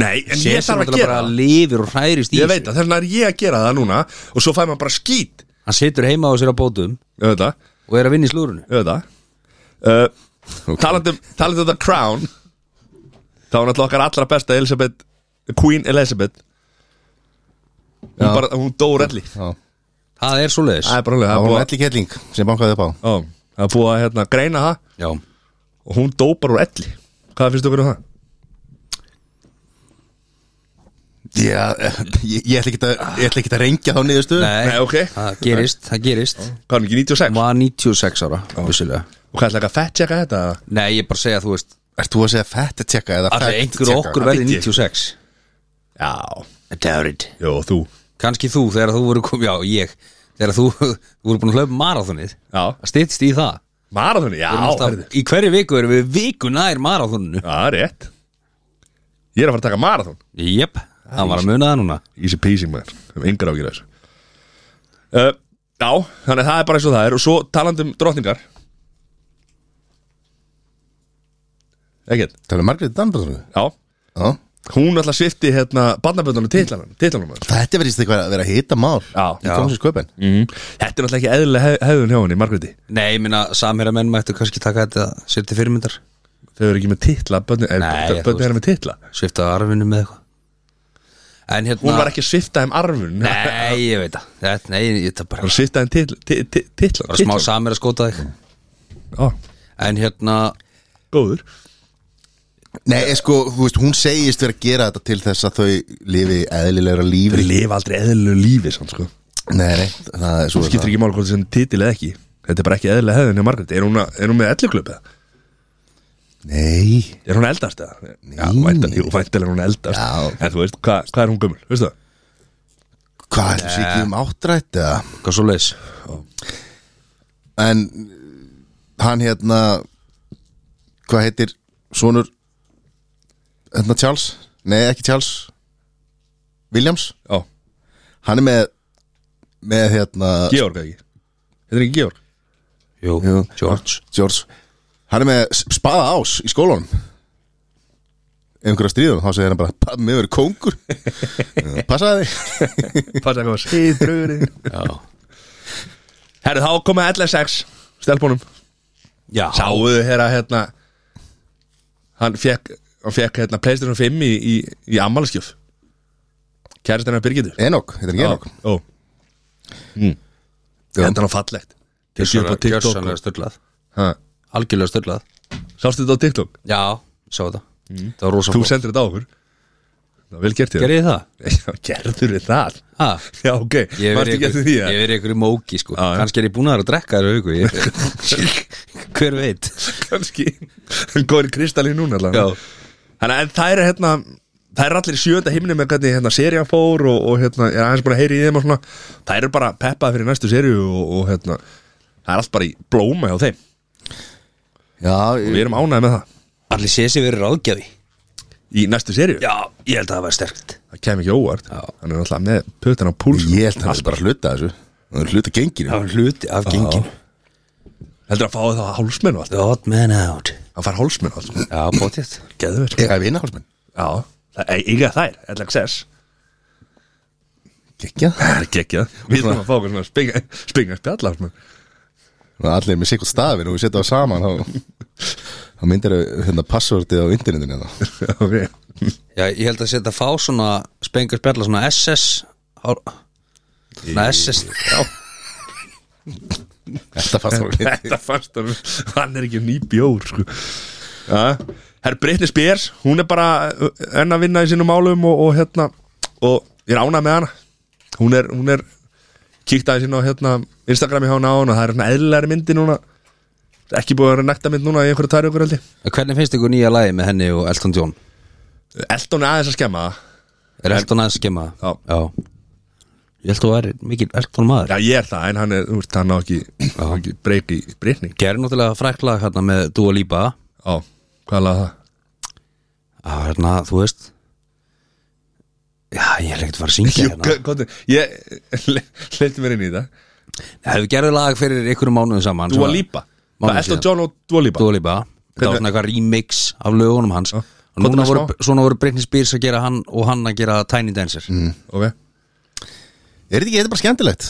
[SPEAKER 1] Nei, en ég
[SPEAKER 3] Sér sem
[SPEAKER 1] þarf að
[SPEAKER 3] þetta
[SPEAKER 1] gera
[SPEAKER 3] bara
[SPEAKER 1] það
[SPEAKER 3] lifir og hræðist í
[SPEAKER 1] Ég veit að þessna er ég að gera það núna Og svo fæ maður bara skít
[SPEAKER 3] þessu. Hann situr heima á sér á bótum
[SPEAKER 1] Auðvitað,
[SPEAKER 3] og er að vinna í slúðrinu
[SPEAKER 1] auðvitað uh, Talandi um talandi um The Crown Þá var náttúrulega okkar allra besta Elizabeth, Queen Elizabeth Hún, bara, hún dó relli
[SPEAKER 2] Já,
[SPEAKER 3] Það er svoleiðis
[SPEAKER 1] Það er bara alveg
[SPEAKER 2] það
[SPEAKER 1] Það er
[SPEAKER 2] var hún
[SPEAKER 1] búið að-
[SPEAKER 2] ætli kelling sem bankaði upp á
[SPEAKER 1] Já, það er búið að hérna, greina það
[SPEAKER 3] Já,
[SPEAKER 1] Og hún dó bara úr elli Hvað finnst okkur um það?
[SPEAKER 2] Já, eh, ég, ég ætla ekki að, ég ætla ekki að rengja þá niðurstu
[SPEAKER 3] nei,
[SPEAKER 1] Nei, ok.
[SPEAKER 3] það gerist, það gerist
[SPEAKER 1] Hvað er hún ekki 96?
[SPEAKER 3] Hún var 96 ára, vissulega
[SPEAKER 1] Og hvað ætla ekki að fett checka þetta?
[SPEAKER 3] Nei, ég bara segja, þú veist
[SPEAKER 2] Ert þú að segja fett að tjekka eða
[SPEAKER 3] Allir
[SPEAKER 2] fact
[SPEAKER 3] einhver
[SPEAKER 2] checka?
[SPEAKER 3] okkur verði
[SPEAKER 1] veit ég.
[SPEAKER 3] 96
[SPEAKER 1] Já,
[SPEAKER 3] I doubt it
[SPEAKER 1] jú, þú
[SPEAKER 3] Kanski þú, þegar þú voru komið, já, ég Þegar þú, þú voru búin að hlaupa marathonið
[SPEAKER 1] Já,
[SPEAKER 3] Það styttist í það
[SPEAKER 1] marathoni, já
[SPEAKER 3] Við erum alltaf-
[SPEAKER 1] herðu.
[SPEAKER 3] Í hverju viku erum við viku nær marathoninu
[SPEAKER 1] Já, það er rétt Ég er að fara að taka marathon
[SPEAKER 3] Jep, það var að muna það núna
[SPEAKER 1] Easy peasy maður, við erum yngra ágjur þessu uh, Já, þannig að það er bara eins og það er Og svo talandi um drottningar Ekkert,
[SPEAKER 2] Það er Margrét Danbjörn
[SPEAKER 1] já Hún alltaf svifti hérna barnaböndunum titlanum, titlanum hans.
[SPEAKER 2] Þetta verðist eitthvað að vera að hita mál
[SPEAKER 1] Já.
[SPEAKER 2] Í tónsins köpinn
[SPEAKER 3] Mhm.
[SPEAKER 1] mm. Þetta er alltaf ekki eðlilega hef, hefðun hjá henni, Margréti
[SPEAKER 3] Nei, ég minna, samherjamenn mættu kannski taka þetta Sér til fyrirmyndar,
[SPEAKER 1] Þau eru ekki með titla, eh, bönni, er,
[SPEAKER 3] Nei,
[SPEAKER 1] Nei,
[SPEAKER 3] þú
[SPEAKER 1] bönni
[SPEAKER 3] veist.
[SPEAKER 1] er með titla
[SPEAKER 3] svifta arfinu með eitthvað En hérna
[SPEAKER 1] Hún var ekki að svifta þeim arfun
[SPEAKER 3] Nei, ég veit það Þetta- Nei, ég þetta bara,
[SPEAKER 1] Hún svifta þeim titla, titla, titla,
[SPEAKER 3] bara smá samir að skóta þig
[SPEAKER 1] Ó,
[SPEAKER 3] En hérna,
[SPEAKER 1] Góður
[SPEAKER 2] Nei, eh, sko, þú veist, hún segist verið að gera þetta til þess að þau lifi eðlilegra
[SPEAKER 1] Þau
[SPEAKER 2] lífi
[SPEAKER 1] lifa aldrei eðlilegu lífi samt sko
[SPEAKER 2] Nei, nei, það er svo er
[SPEAKER 1] Skiptir
[SPEAKER 2] það.
[SPEAKER 1] ekki mál hvort sem titil eða ekki Þetta er bara ekki eðlilega hefðin hjá Margrét Er hún, að- er hún með elluklub eða?
[SPEAKER 2] Nei,
[SPEAKER 1] Er hún eldast eða? Já, væntan, jú, væntan er hún eldast
[SPEAKER 2] Já.
[SPEAKER 1] En þú veist, hvað hva er hún gömul, veistu það?
[SPEAKER 2] hvað er þessi ekki um áttrætt eða?
[SPEAKER 3] hvað svo leis
[SPEAKER 2] En eh, hann hérna Hvað heitir sonur Hérna Charles? Nei, ekki Charles Williams?
[SPEAKER 1] Já,
[SPEAKER 2] Hann er með með hérna
[SPEAKER 1] Georg eða ekki Þetta er ekki Georg
[SPEAKER 3] Jú,
[SPEAKER 2] Jú.
[SPEAKER 3] George
[SPEAKER 2] George Hann er með s- spaða ás í skólanum Ef einhverja stríðum þá segir hann bara Pabbi, mér verið kóngur Já, Passaði þig
[SPEAKER 1] Passa eitthvað að segja drögurinn
[SPEAKER 3] Já,
[SPEAKER 1] Herru, þá komið 11.6 Stelpunum
[SPEAKER 3] já
[SPEAKER 1] Sáuðu hérna hérna Hann fekk, hann fekk hérna Playstation 5 í, í, í ammálskjöf Kærist hennar Birgitur
[SPEAKER 2] Enok, heitir hann Enok
[SPEAKER 1] Ó Hmm. Þetta er nú fallegt Tekið upp á TikTok
[SPEAKER 3] Gjörsanlega stöllað
[SPEAKER 1] Ha,
[SPEAKER 3] Algjörlega stöllað
[SPEAKER 1] Sástu þetta á TikTok?
[SPEAKER 3] Já, sá þetta Það var rosa
[SPEAKER 1] Mm. Þú
[SPEAKER 3] flott.
[SPEAKER 1] sendir þetta á okkur Það er vel gert þér
[SPEAKER 3] Gerði ég það?
[SPEAKER 1] Já, gerður þið það
[SPEAKER 3] Ha?
[SPEAKER 1] Já, ok,
[SPEAKER 3] Ég
[SPEAKER 1] varstu
[SPEAKER 3] hef verið
[SPEAKER 1] ekki eftir
[SPEAKER 3] ykkur,
[SPEAKER 1] því
[SPEAKER 3] ég
[SPEAKER 1] að
[SPEAKER 3] hef verið ykkur í móki sko
[SPEAKER 1] Já, já.
[SPEAKER 3] Kannski er ég búin að vera að drekka þér auku ég, Hver veit
[SPEAKER 1] Kanski, hann góður í kristallin núna allan Þannig að en það er hérna Það er allir í sjönda himni með hvernig hérna serían fór og, og hérna, ég er aðeins búin að heyri í þeim og svona Það eru bara peppað fyrir næstu seríu og, og hérna, það er allt bara í blóma hjá þeim
[SPEAKER 2] Já,
[SPEAKER 1] og við erum ánægð með það
[SPEAKER 3] Allir sé sér verið ráðgjafi
[SPEAKER 1] í næstu seríu
[SPEAKER 3] Já, ég held að það var sterkt
[SPEAKER 1] Það kem ekki óvart,
[SPEAKER 3] Já.
[SPEAKER 1] hann er alltaf með pötan á púls
[SPEAKER 2] ég held að hann er bara að hluta þessu Hann er að hluta genginu
[SPEAKER 3] Það var hluti af gengin
[SPEAKER 1] Heldur að fá það hálsmenn og allt
[SPEAKER 3] The odd man out
[SPEAKER 1] Hann fær hálsmenn og allt sko.
[SPEAKER 3] Já, bótið
[SPEAKER 1] Geðver
[SPEAKER 2] Ég hef vinahálsmenn
[SPEAKER 1] Já, það er eiga þær, LXS
[SPEAKER 2] Gekja
[SPEAKER 1] Það er geggjað Við erum að fá okkur svona spinga, spinga spjallar menn.
[SPEAKER 2] Allir með sikkert stafin og við setja það saman þá, þá myndir þau, hérna passvörtið á internetinu hérna.
[SPEAKER 1] Ok
[SPEAKER 3] Já, ég held að setja að fá svona Spengur spjalla svona SS hár- Svona SS Já,
[SPEAKER 2] Þetta passvörtið
[SPEAKER 1] Þetta fannst hann Hann er ekki ný bjór sko. ja. Herr Brittany Spears Hún er bara uh, enn að vinna í sínum málum Og, og hérna Og ég er ánað með hana Hún er, hún er kíkt aðeins inn á hérna, Instagrami hjá hana á hana, það er hérna svona eðlæri myndi núna ekki búið að vera nekta mynd núna í einhverju tæri okkur heldig
[SPEAKER 3] Hvernig finnst ykkur nýja lagi með henni og Elton John?
[SPEAKER 1] Eldon er aðeins að skemma það
[SPEAKER 3] Er Elton aðeins skemma?
[SPEAKER 1] Já.
[SPEAKER 3] Já Ég held að þú er mikil Elton maður
[SPEAKER 1] Já, ég er það, en hann er, þú veist, hann á ekki, á ekki breyki, breytning
[SPEAKER 3] Gerði náttúrulega frækla hérna með Dua Lipa
[SPEAKER 1] Já, hvað laði það?
[SPEAKER 3] að hérna, þú veist Já, ég hef ekkert að fara að syngja
[SPEAKER 1] Jú,
[SPEAKER 3] hérna
[SPEAKER 1] hvað- hvað- Ég leiti mér inn í það
[SPEAKER 3] Hefur gerði lag fyrir einhverjum mánuðum saman
[SPEAKER 1] Dua
[SPEAKER 3] sem var-
[SPEAKER 1] Lipa
[SPEAKER 3] Mánuði
[SPEAKER 1] Það er Elton
[SPEAKER 3] síðan.
[SPEAKER 1] John og Dua Lipa
[SPEAKER 3] Dua Lipa Það var
[SPEAKER 1] Hvernig-
[SPEAKER 3] svona eitthvað remix af lögunum hans
[SPEAKER 1] Já.
[SPEAKER 3] og núna
[SPEAKER 1] Komdu með
[SPEAKER 3] voru, svona voru Britney Spears að gera hann og hann að gera Tiny Dancer
[SPEAKER 1] Ok,
[SPEAKER 2] Er þetta ekki, þetta er bara skemmtilegt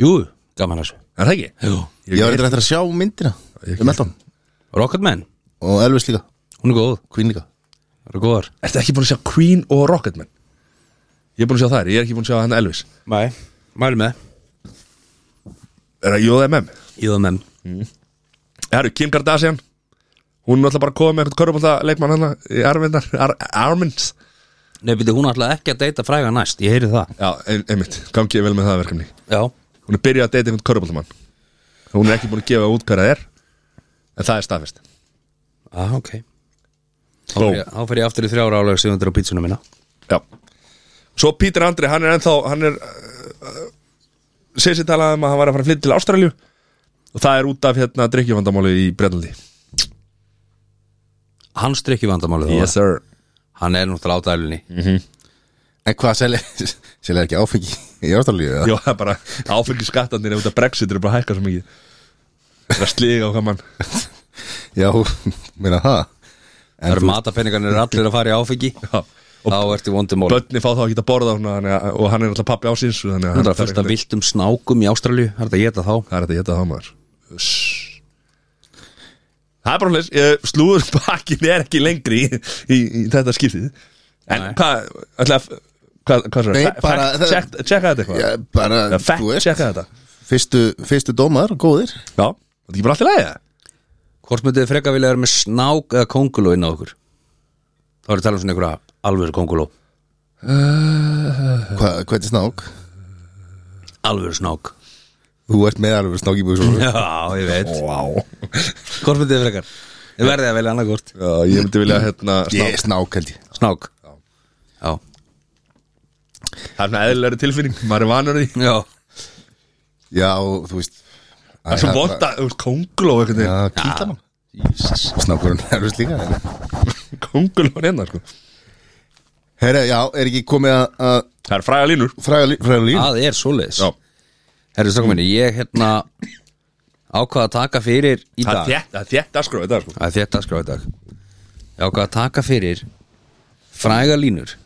[SPEAKER 3] Jú, gaman þessu
[SPEAKER 1] er það ekki?
[SPEAKER 3] Jú.
[SPEAKER 2] Ég var eitthvað eftir að sjá myndina um Elton
[SPEAKER 3] Rocketman,
[SPEAKER 2] og Elvis líka,
[SPEAKER 3] hún er góð
[SPEAKER 2] Queen líka
[SPEAKER 3] Það eru góðar
[SPEAKER 1] Ertu ekki búin að sjá Queen og Rocketman? Ég er búin að sjá þær, ég er ekki búin að sjá hann Elvis
[SPEAKER 3] Mæ, mælu með
[SPEAKER 1] Er það Jóða MM?
[SPEAKER 3] Jöðum með
[SPEAKER 1] Það eru Kim Kardashian Hún er náttúrulega bara að koma með eitthvað körubólta leikmann hann í Arvindar, Ar Arminds
[SPEAKER 3] Nei, byrju, hún ætlaði ekki að deyta fræga næst, ég heyri það
[SPEAKER 1] Já, ein- einmitt, gangi ég vel með það verkefni
[SPEAKER 3] Já,
[SPEAKER 1] Hún er byrjað að deyta einhvern körubóltamann Hún er ekki búin að gefa út hver það er En það er staðfest
[SPEAKER 3] ah, ok Þá
[SPEAKER 1] Bó.
[SPEAKER 3] fer ég- þá fer ég aftur í þrjára álega 700 á pítsuna mína
[SPEAKER 1] Já Svo Pítur Andri, hann er ennþá Hann er uh, Sessi talaði um að hann var að fara að flytta til Ástralju Og það er út af hérna drikkjufandamáli í Breitlandi
[SPEAKER 3] Hann strykki vandamálið yes.
[SPEAKER 1] sir
[SPEAKER 3] Hann er náttúrulega á dælunni
[SPEAKER 2] En hvað selja, selja ekki áfengi í ástæðalíu eða?
[SPEAKER 1] Já, það er bara áfengi skattarnir út af Brexit eru bara að hækka svo mikið Það er að sliga á hvað mann
[SPEAKER 2] Já, meina það
[SPEAKER 3] Það eru matapenningarnir allir að fara í áfengi
[SPEAKER 1] Já.
[SPEAKER 3] Þá ertu vondumál
[SPEAKER 1] Bönni fá þá ekki að borða svona, þannig að, og hann er alltaf pappi á síns þannig að
[SPEAKER 3] Það er fullt af viltum snákum í Ástralju Það er þetta að geta þá
[SPEAKER 1] Það er þetta að geta þá maður Uss. Það er bara hlæs eh, Slúðurpakkin er ekki lengri í, í, í þetta skiptið En
[SPEAKER 3] Nei.
[SPEAKER 1] hvað ætla að- Hvað, hvað svo?
[SPEAKER 2] Nei, bara-
[SPEAKER 1] Tjekka þetta eitthvað
[SPEAKER 2] Já, bara,
[SPEAKER 1] Eða Fact
[SPEAKER 2] þú veist,
[SPEAKER 1] tjekka þetta
[SPEAKER 2] fyrstu, fyrstu dómar, góðir
[SPEAKER 1] Já, þetta er ekki bara allt í lagi það?
[SPEAKER 3] Hvort myndið þið freka vilja vera með snák eða konguló inn á okkur Þá er ég að tala um svona einhverja alvöru konguló
[SPEAKER 2] Hva, Hvað er snák?
[SPEAKER 3] Alvöru snák
[SPEAKER 2] Þú ert með alveg snák í búið
[SPEAKER 3] Já, ég veit
[SPEAKER 1] Vá
[SPEAKER 3] Hvort myndið þið frekar Þið verðið að velja annað hvort
[SPEAKER 1] Já, ég myndi vilja hérna snák.
[SPEAKER 2] Ég er snák held ég
[SPEAKER 3] Snák Já
[SPEAKER 1] Það er svona eðlilegri tilfinning, maður er vanur því
[SPEAKER 3] Já
[SPEAKER 2] Já, þú veist
[SPEAKER 1] Það er svo vonda, þú veist, konguló einhvern
[SPEAKER 2] Já,
[SPEAKER 1] veginn
[SPEAKER 2] kýtla mann Snákurinn er alveg líka en-
[SPEAKER 1] Konguló er hérna, sko
[SPEAKER 2] Herra, já, er ekki komið að- að
[SPEAKER 1] Það er fræga línur
[SPEAKER 2] fræga lí- fræga lín?
[SPEAKER 3] Það er svoleiðis
[SPEAKER 1] Já.
[SPEAKER 3] Herru, strákum minni, ég hérna ákvað að taka fyrir í
[SPEAKER 1] Það
[SPEAKER 3] dag
[SPEAKER 1] er þétt, það er þétt að skróa þetta, sko
[SPEAKER 3] Það er þetta skrá í dag Ég ákvað að taka fyrir fræga línur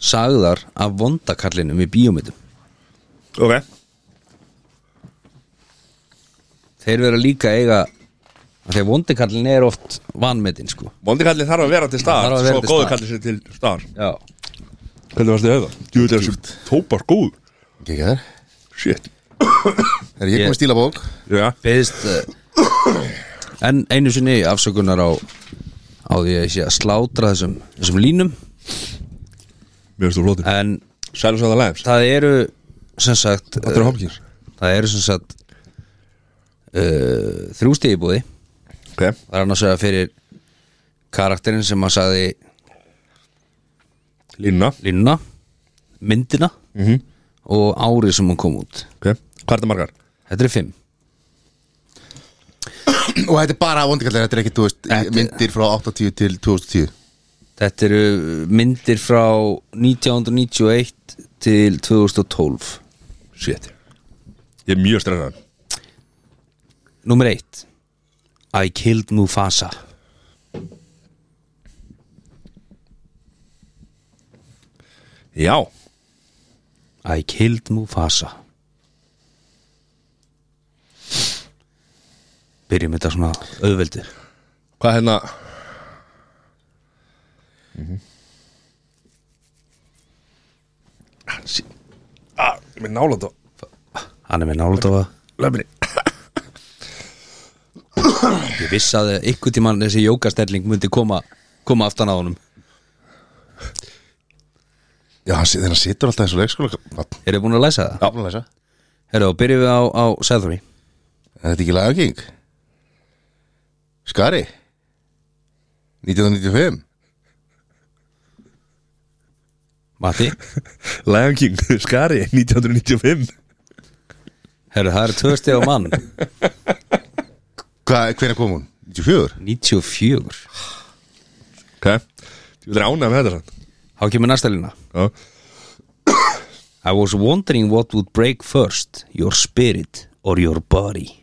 [SPEAKER 3] sagðar af vondakallinum í bíómyndum
[SPEAKER 1] Ok
[SPEAKER 3] Þeir vera líka að eiga af Því að vondikallin er oft vanmetin sko
[SPEAKER 1] Vondi kallin þarf að vera til
[SPEAKER 3] Þarf
[SPEAKER 1] staðar
[SPEAKER 3] að
[SPEAKER 1] Svo
[SPEAKER 3] vera til
[SPEAKER 1] góðu
[SPEAKER 3] staðar.
[SPEAKER 1] kallin sér til staðar
[SPEAKER 3] Já
[SPEAKER 1] Hvernig varst þið auðvitað? Jú, þetta er svo tópar góð
[SPEAKER 2] Ekki ekki þær
[SPEAKER 1] Shit
[SPEAKER 2] Herra, ég
[SPEAKER 3] Ég-
[SPEAKER 2] komið stíla bók
[SPEAKER 1] Já,
[SPEAKER 3] Beðist uh, En einu sinni afsökunar á á því að ég sé að slátra þessum þessum línum
[SPEAKER 1] mér finnst þú flóttir
[SPEAKER 3] en
[SPEAKER 1] Sælum svo það lægums
[SPEAKER 3] það eru sem sagt eh,
[SPEAKER 1] Þetta er Hopkins
[SPEAKER 3] það eru sem sagt uh, þrjústegi búði
[SPEAKER 1] Ok
[SPEAKER 3] Það er annars vegar fyrir karakterinn sem að sagði
[SPEAKER 1] Línuna
[SPEAKER 3] línuna, myndina
[SPEAKER 1] Mhm.
[SPEAKER 3] og árið sem hún kom út.
[SPEAKER 1] Ok Hvað er það margar?
[SPEAKER 3] Þetta er fimm.
[SPEAKER 2] Og þetta er bara vondikallega, þetta er ekki, þú veist,
[SPEAKER 3] Þetta-
[SPEAKER 2] myndir frá 80 til 2010
[SPEAKER 3] Þetta eru uh, myndir frá 1991 til 2012.
[SPEAKER 1] Shit Ég er mjög stressaður
[SPEAKER 3] Númer eitt. I killed Mufasa.
[SPEAKER 1] Já
[SPEAKER 3] I killed Mufasa. Byrjum þetta svona auðveldur.
[SPEAKER 1] Hvað hérna Mhm. Ah, shit. Ah, ég með nála þetta
[SPEAKER 3] Hann er með nálatóða.
[SPEAKER 1] Löfni
[SPEAKER 3] Ég vissi að ykkur tíman þessi jókastelling myndi koma, koma aftan á honum.
[SPEAKER 2] Já, hann sit- þegar hann situr alltaf eins og leikskóla
[SPEAKER 3] Eru þið búin að læsa það?
[SPEAKER 2] Já, búin að lesa
[SPEAKER 3] Herra, og byrjum við á, á Sæðurí
[SPEAKER 2] Er þetta ekki lagageng? Skari 1995
[SPEAKER 3] Matti,
[SPEAKER 1] Lion King, Skari, 1995
[SPEAKER 3] herra, það er tvö stið á mann
[SPEAKER 2] Hvað, hvernig kom hún? 94?
[SPEAKER 3] 94
[SPEAKER 1] Ok, ég vil rána með þetta sann
[SPEAKER 3] Há kemur næsta lína
[SPEAKER 1] Já,
[SPEAKER 3] I was wondering what would break first Your spirit or your body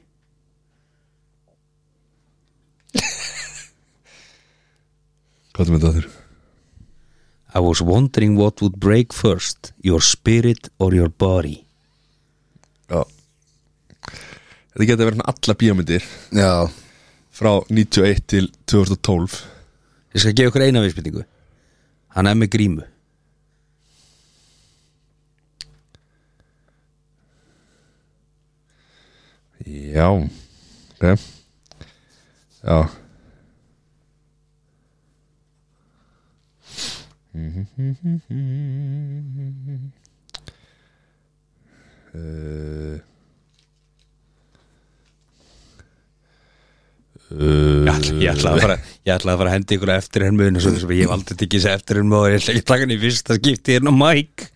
[SPEAKER 1] hvað er þetta þér?
[SPEAKER 3] I was wondering what would break first Your spirit or your body
[SPEAKER 1] Já Þetta getur verið allar bíómyndir
[SPEAKER 2] Já,
[SPEAKER 1] frá 91 til 2012
[SPEAKER 3] Ég skal gefa ykkur eina viðspendingu Hann er með grímu
[SPEAKER 1] Já Ok Já Uh,
[SPEAKER 3] Ég ætla- ég ætlaði að fara Ég ætlaði að fara að henda ykkur á eftir henn mun Svo sem ég hef aldrei tekið þessi eftir henn mun Ég ætla ekki að taka henni í fyrsta skipti hérna á Mike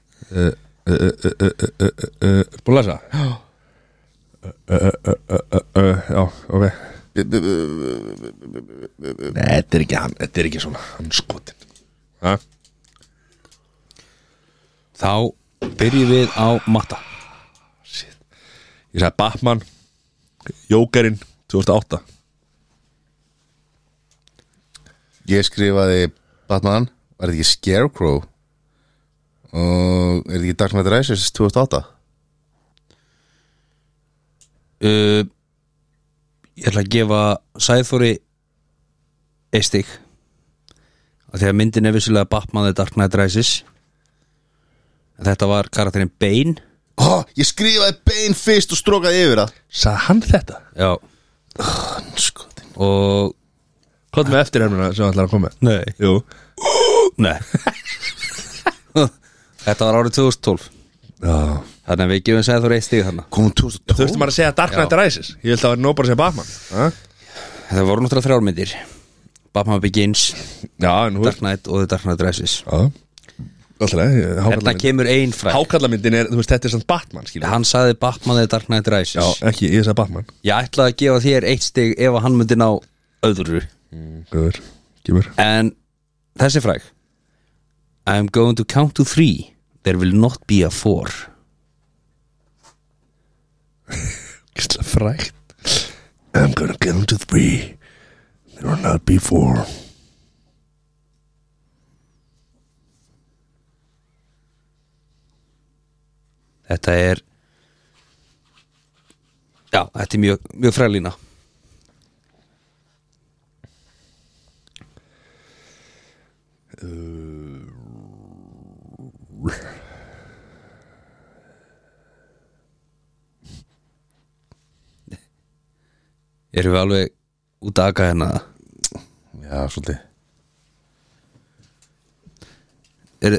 [SPEAKER 1] Búin að lesa? Já Já, ok Nei, þetta er ekki hann Þetta er ekki svona hann skotin Hæ?
[SPEAKER 3] Þá byrjum við á matta
[SPEAKER 1] Ég sagði Batman Jókerinn 2008
[SPEAKER 2] ég skrifaði Batman Var þetta ekki Scarecrow Og er þetta ekki Dark Knight Rises 2008?
[SPEAKER 3] uh, Ég ætla að gefa Sæðþóri eitt stig af því að myndin er vissulega Batman The Dark Knight Rises en þetta var karakterinn Bane
[SPEAKER 2] Ó, ég skrifaði bein fyrst og strókaði yfir það
[SPEAKER 1] Sagði hann þetta?
[SPEAKER 3] Já,
[SPEAKER 2] Skotin
[SPEAKER 3] og
[SPEAKER 1] Hvað með eftirhermina sem hann ætlar að koma með?
[SPEAKER 3] Nei,
[SPEAKER 1] Jú
[SPEAKER 3] Nei. Þetta var árið 2012
[SPEAKER 1] Já
[SPEAKER 3] Þannig að við gefum Sæðþóri eitt stig þarna
[SPEAKER 2] Komum
[SPEAKER 1] Þurfti
[SPEAKER 2] 2012
[SPEAKER 1] maður að segja Dark Knight Rises Ég vildi að vera nóg bara að segja Batman Hæ?
[SPEAKER 3] Það voru náttúrulega þrjármyndir Batman Begins,
[SPEAKER 1] Já, en hú
[SPEAKER 3] Dark Knight og The Dark Knight Rises
[SPEAKER 1] Já
[SPEAKER 3] Þetta
[SPEAKER 1] Alltaf
[SPEAKER 3] kemur einn fræ
[SPEAKER 1] Hákallamyndin er, þú veist, þetta er samt Batman skilur
[SPEAKER 3] Hann sagði Batman The Dark Knight Rises
[SPEAKER 1] Já, ekki, ég sagði Batman
[SPEAKER 3] Ég ætlaði að gefa þér eitt stig ef að hann myndi ná öðru
[SPEAKER 1] Guður, kemur
[SPEAKER 3] En þessi fræg I'm going to count to three There will not be a four
[SPEAKER 1] Gísla frægt I'm gonna count to three There will not be four
[SPEAKER 3] Þetta er Já, þetta er mjög, mjög fræg lína Erum við alveg út að aga hérna
[SPEAKER 2] Já, svolítið
[SPEAKER 3] er,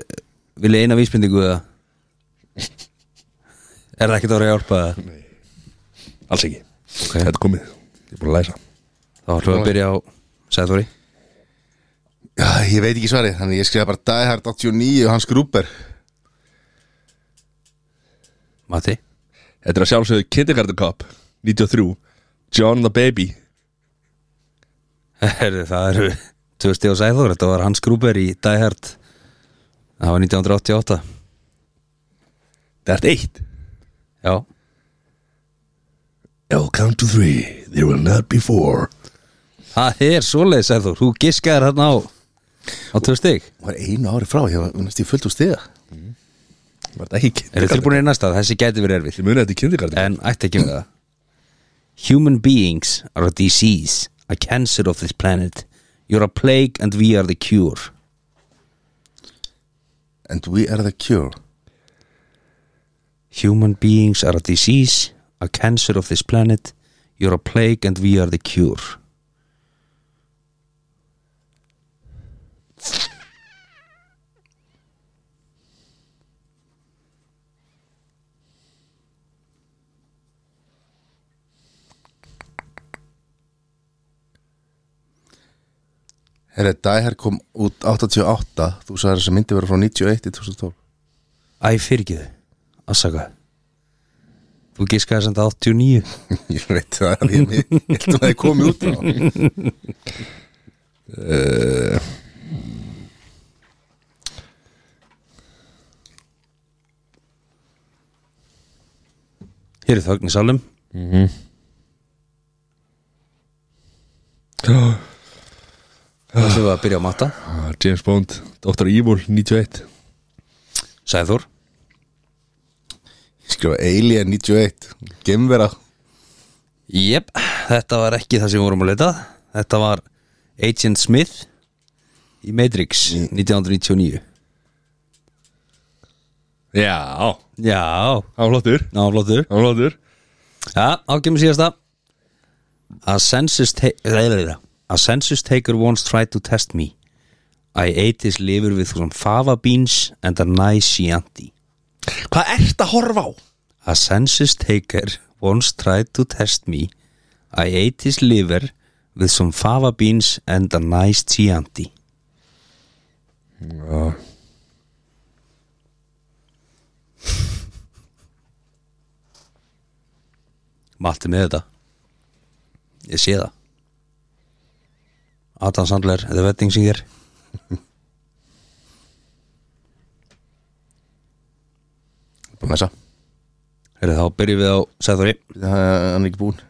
[SPEAKER 3] Vil ég eina vísbendingu eða? Er það ekkert að vera að hjálpa það?
[SPEAKER 1] Alls ekki
[SPEAKER 3] Ok.
[SPEAKER 1] Þetta er komið Ég er búin að læsa
[SPEAKER 3] Þá ætlum við að byrja á Sæðþóri
[SPEAKER 2] Já, ég veit ekki svarið Þannig ég skrifaði bara Die Hard 89 og hans grúper
[SPEAKER 3] Matti
[SPEAKER 1] Þetta er að sjálfsögðu Kindergarten Cop 93 John and the Baby
[SPEAKER 3] Herðu, það eru tvö stíð á Sæðþóri Þetta var Hans Gruber í Die Hard Það var 1988
[SPEAKER 1] Þetta er eitt
[SPEAKER 3] Já,
[SPEAKER 1] I'll count to three There will not be four
[SPEAKER 3] það er svoleið Sæðþór Þú giskaðir hérna á á tvö stík
[SPEAKER 2] Var einu ári frá, ég var næst í fullt úr stiga
[SPEAKER 1] Var þetta ekki
[SPEAKER 3] Er þið
[SPEAKER 1] Kindergarten Cop?
[SPEAKER 3] tilbúinir í næsta? Þessi gæti verið erfið
[SPEAKER 1] Ég muni þetta í Kindergarten Cop
[SPEAKER 3] En ætti ekki með það Human beings are a disease A cancer of this planet You're a plague and we are the cure
[SPEAKER 2] And we are the cure
[SPEAKER 3] Human beings are a disease, a cancer of this planet. You're a plague and we are the cure.
[SPEAKER 2] Herri, Die Hard kom út 88 Þú sagði þess að myndi vera frá 91 í 2012
[SPEAKER 3] Æ, fyrirgið, afsaka Þú gískaði samt 89
[SPEAKER 2] Ég veit það að ég heldur að það komi út á
[SPEAKER 3] Hér er þögn í salum Mhm. Það sem við að byrja á matta
[SPEAKER 1] Ah, James Bond, Dr. Evil, 91
[SPEAKER 3] Sæður
[SPEAKER 2] Skrifa Alien 91 Gemvera
[SPEAKER 3] Jep, þetta var ekki það sem við vorum að leita að. Þetta var Agent Smith í Matrix 1999
[SPEAKER 1] Já,
[SPEAKER 3] Já,
[SPEAKER 1] hann var flottur
[SPEAKER 3] ná flottur
[SPEAKER 1] Hann var flottur
[SPEAKER 3] Já, ákemur síðasta A census, ta reyðlega. A census taker once tried to test me I ate his liver with some fava beans and a nice chianti
[SPEAKER 1] Hvað ert að horfa á?
[SPEAKER 3] A census taker once tried to test me. I ate his liver with some fava beans and a nice chianti. Matti með þetta. Ég sé það. Adam Sandler, The Wedding Singer.
[SPEAKER 2] Búin þessa
[SPEAKER 3] Herri, þá byrjum við á Sæðurri.
[SPEAKER 2] Hann er ekki búin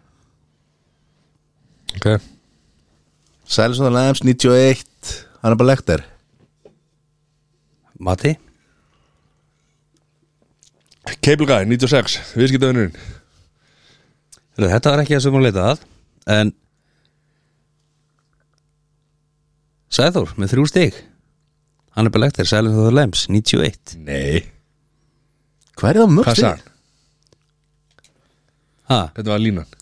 [SPEAKER 1] Ok
[SPEAKER 2] Silence of the Lambs 91 Hann er bara lektar
[SPEAKER 3] Matti?
[SPEAKER 1] Cable Guy, 96, viðskiptavinnurinn
[SPEAKER 3] Heyrðu, Þetta var ekki það sem hún leitað að En Sæður með þrjú stig Hann er bara lektir Silence of the Lambs 91
[SPEAKER 1] Nei
[SPEAKER 2] Hvað er það mörg
[SPEAKER 1] Hvað sagði hann?
[SPEAKER 3] ha,
[SPEAKER 1] Þetta var línan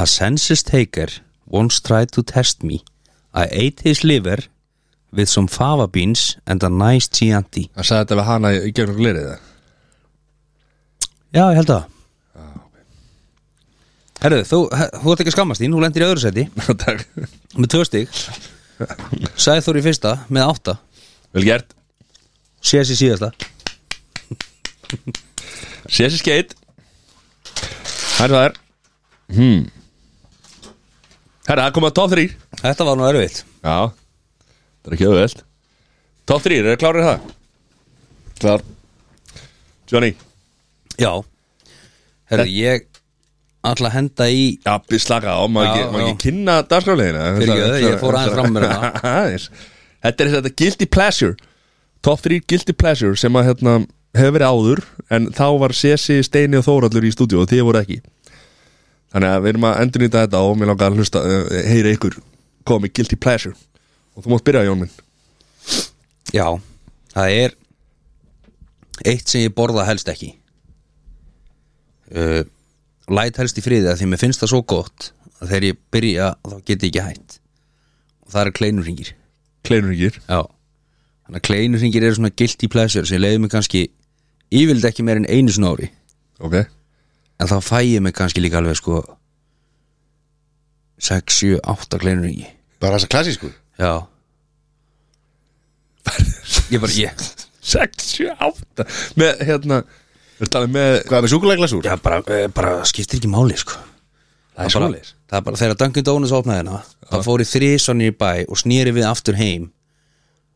[SPEAKER 3] A census taker once tried to test me I ate his liver with some fava beans and a nice chianti
[SPEAKER 1] Hann sagði þetta við hana í gegnum glerið það
[SPEAKER 3] Já, ég held að Herðu, þú, þú ert ekki að skammast þín, þú lendir í öðru seti
[SPEAKER 1] Takk
[SPEAKER 3] með tvö stig Sæður í fyrsta með átta
[SPEAKER 1] Vel gert
[SPEAKER 3] Sér sér síðasta
[SPEAKER 1] Sési skeit Herra það er hmm. Herra, það komið að top 3
[SPEAKER 3] Þetta var nú erfitt
[SPEAKER 1] Já Það er ekki auðveld Top 3, er það klárið það? Klár Johnny
[SPEAKER 3] Já Herru, ég ætla að henda í
[SPEAKER 1] Já, við slaka á, maður
[SPEAKER 3] Já,
[SPEAKER 1] ekki, maður
[SPEAKER 3] já.
[SPEAKER 1] ekki kynna dagskrálegina
[SPEAKER 3] Fyrirgefðu, ég fór aðeins fram með það.
[SPEAKER 1] Þetta er þetta guilty pleasure Top 3 guilty pleasure sem að hérna hefur verið áður en þá var Sesi, Steini og Þórallur í stúdíu og þið voru ekki Þannig að við erum að endurnýta þetta og mér langar að hlusta eh, heyra ykkur komi guilty pleasure og þú mátt byrja Jón minn
[SPEAKER 3] Já, það er Eitt sem ég borða helst ekki uh, Læt helst í friði að því mér finnst það svo gott að þegar ég byrja þá get ég ekki hætt og það eru kleinurringir
[SPEAKER 1] Kleinungir
[SPEAKER 3] Já Þannig að kleinurringir eru svona guilty pleasure sem leiði mig kannski ég vildi ekki meir en einu svona ári
[SPEAKER 1] Ok
[SPEAKER 3] en þá fæ ég mig kannski líka alveg sko 6, 7, 8 kleinurringi
[SPEAKER 2] Bara þessa klassísku
[SPEAKER 3] Já Ég bara, ég
[SPEAKER 1] 6, 7, 8 Með hérna Við talaðum með
[SPEAKER 2] Hvað er með súkuleglasúr?
[SPEAKER 3] Já, bara, eh, bara skiptir ekki máli, sko
[SPEAKER 1] er
[SPEAKER 3] Það bara-
[SPEAKER 1] svoleiðis.
[SPEAKER 3] Það er bara, þegar Dunkin Donuts opnaði hérna Það fór í þrisann í bæ og snýri við aftur heim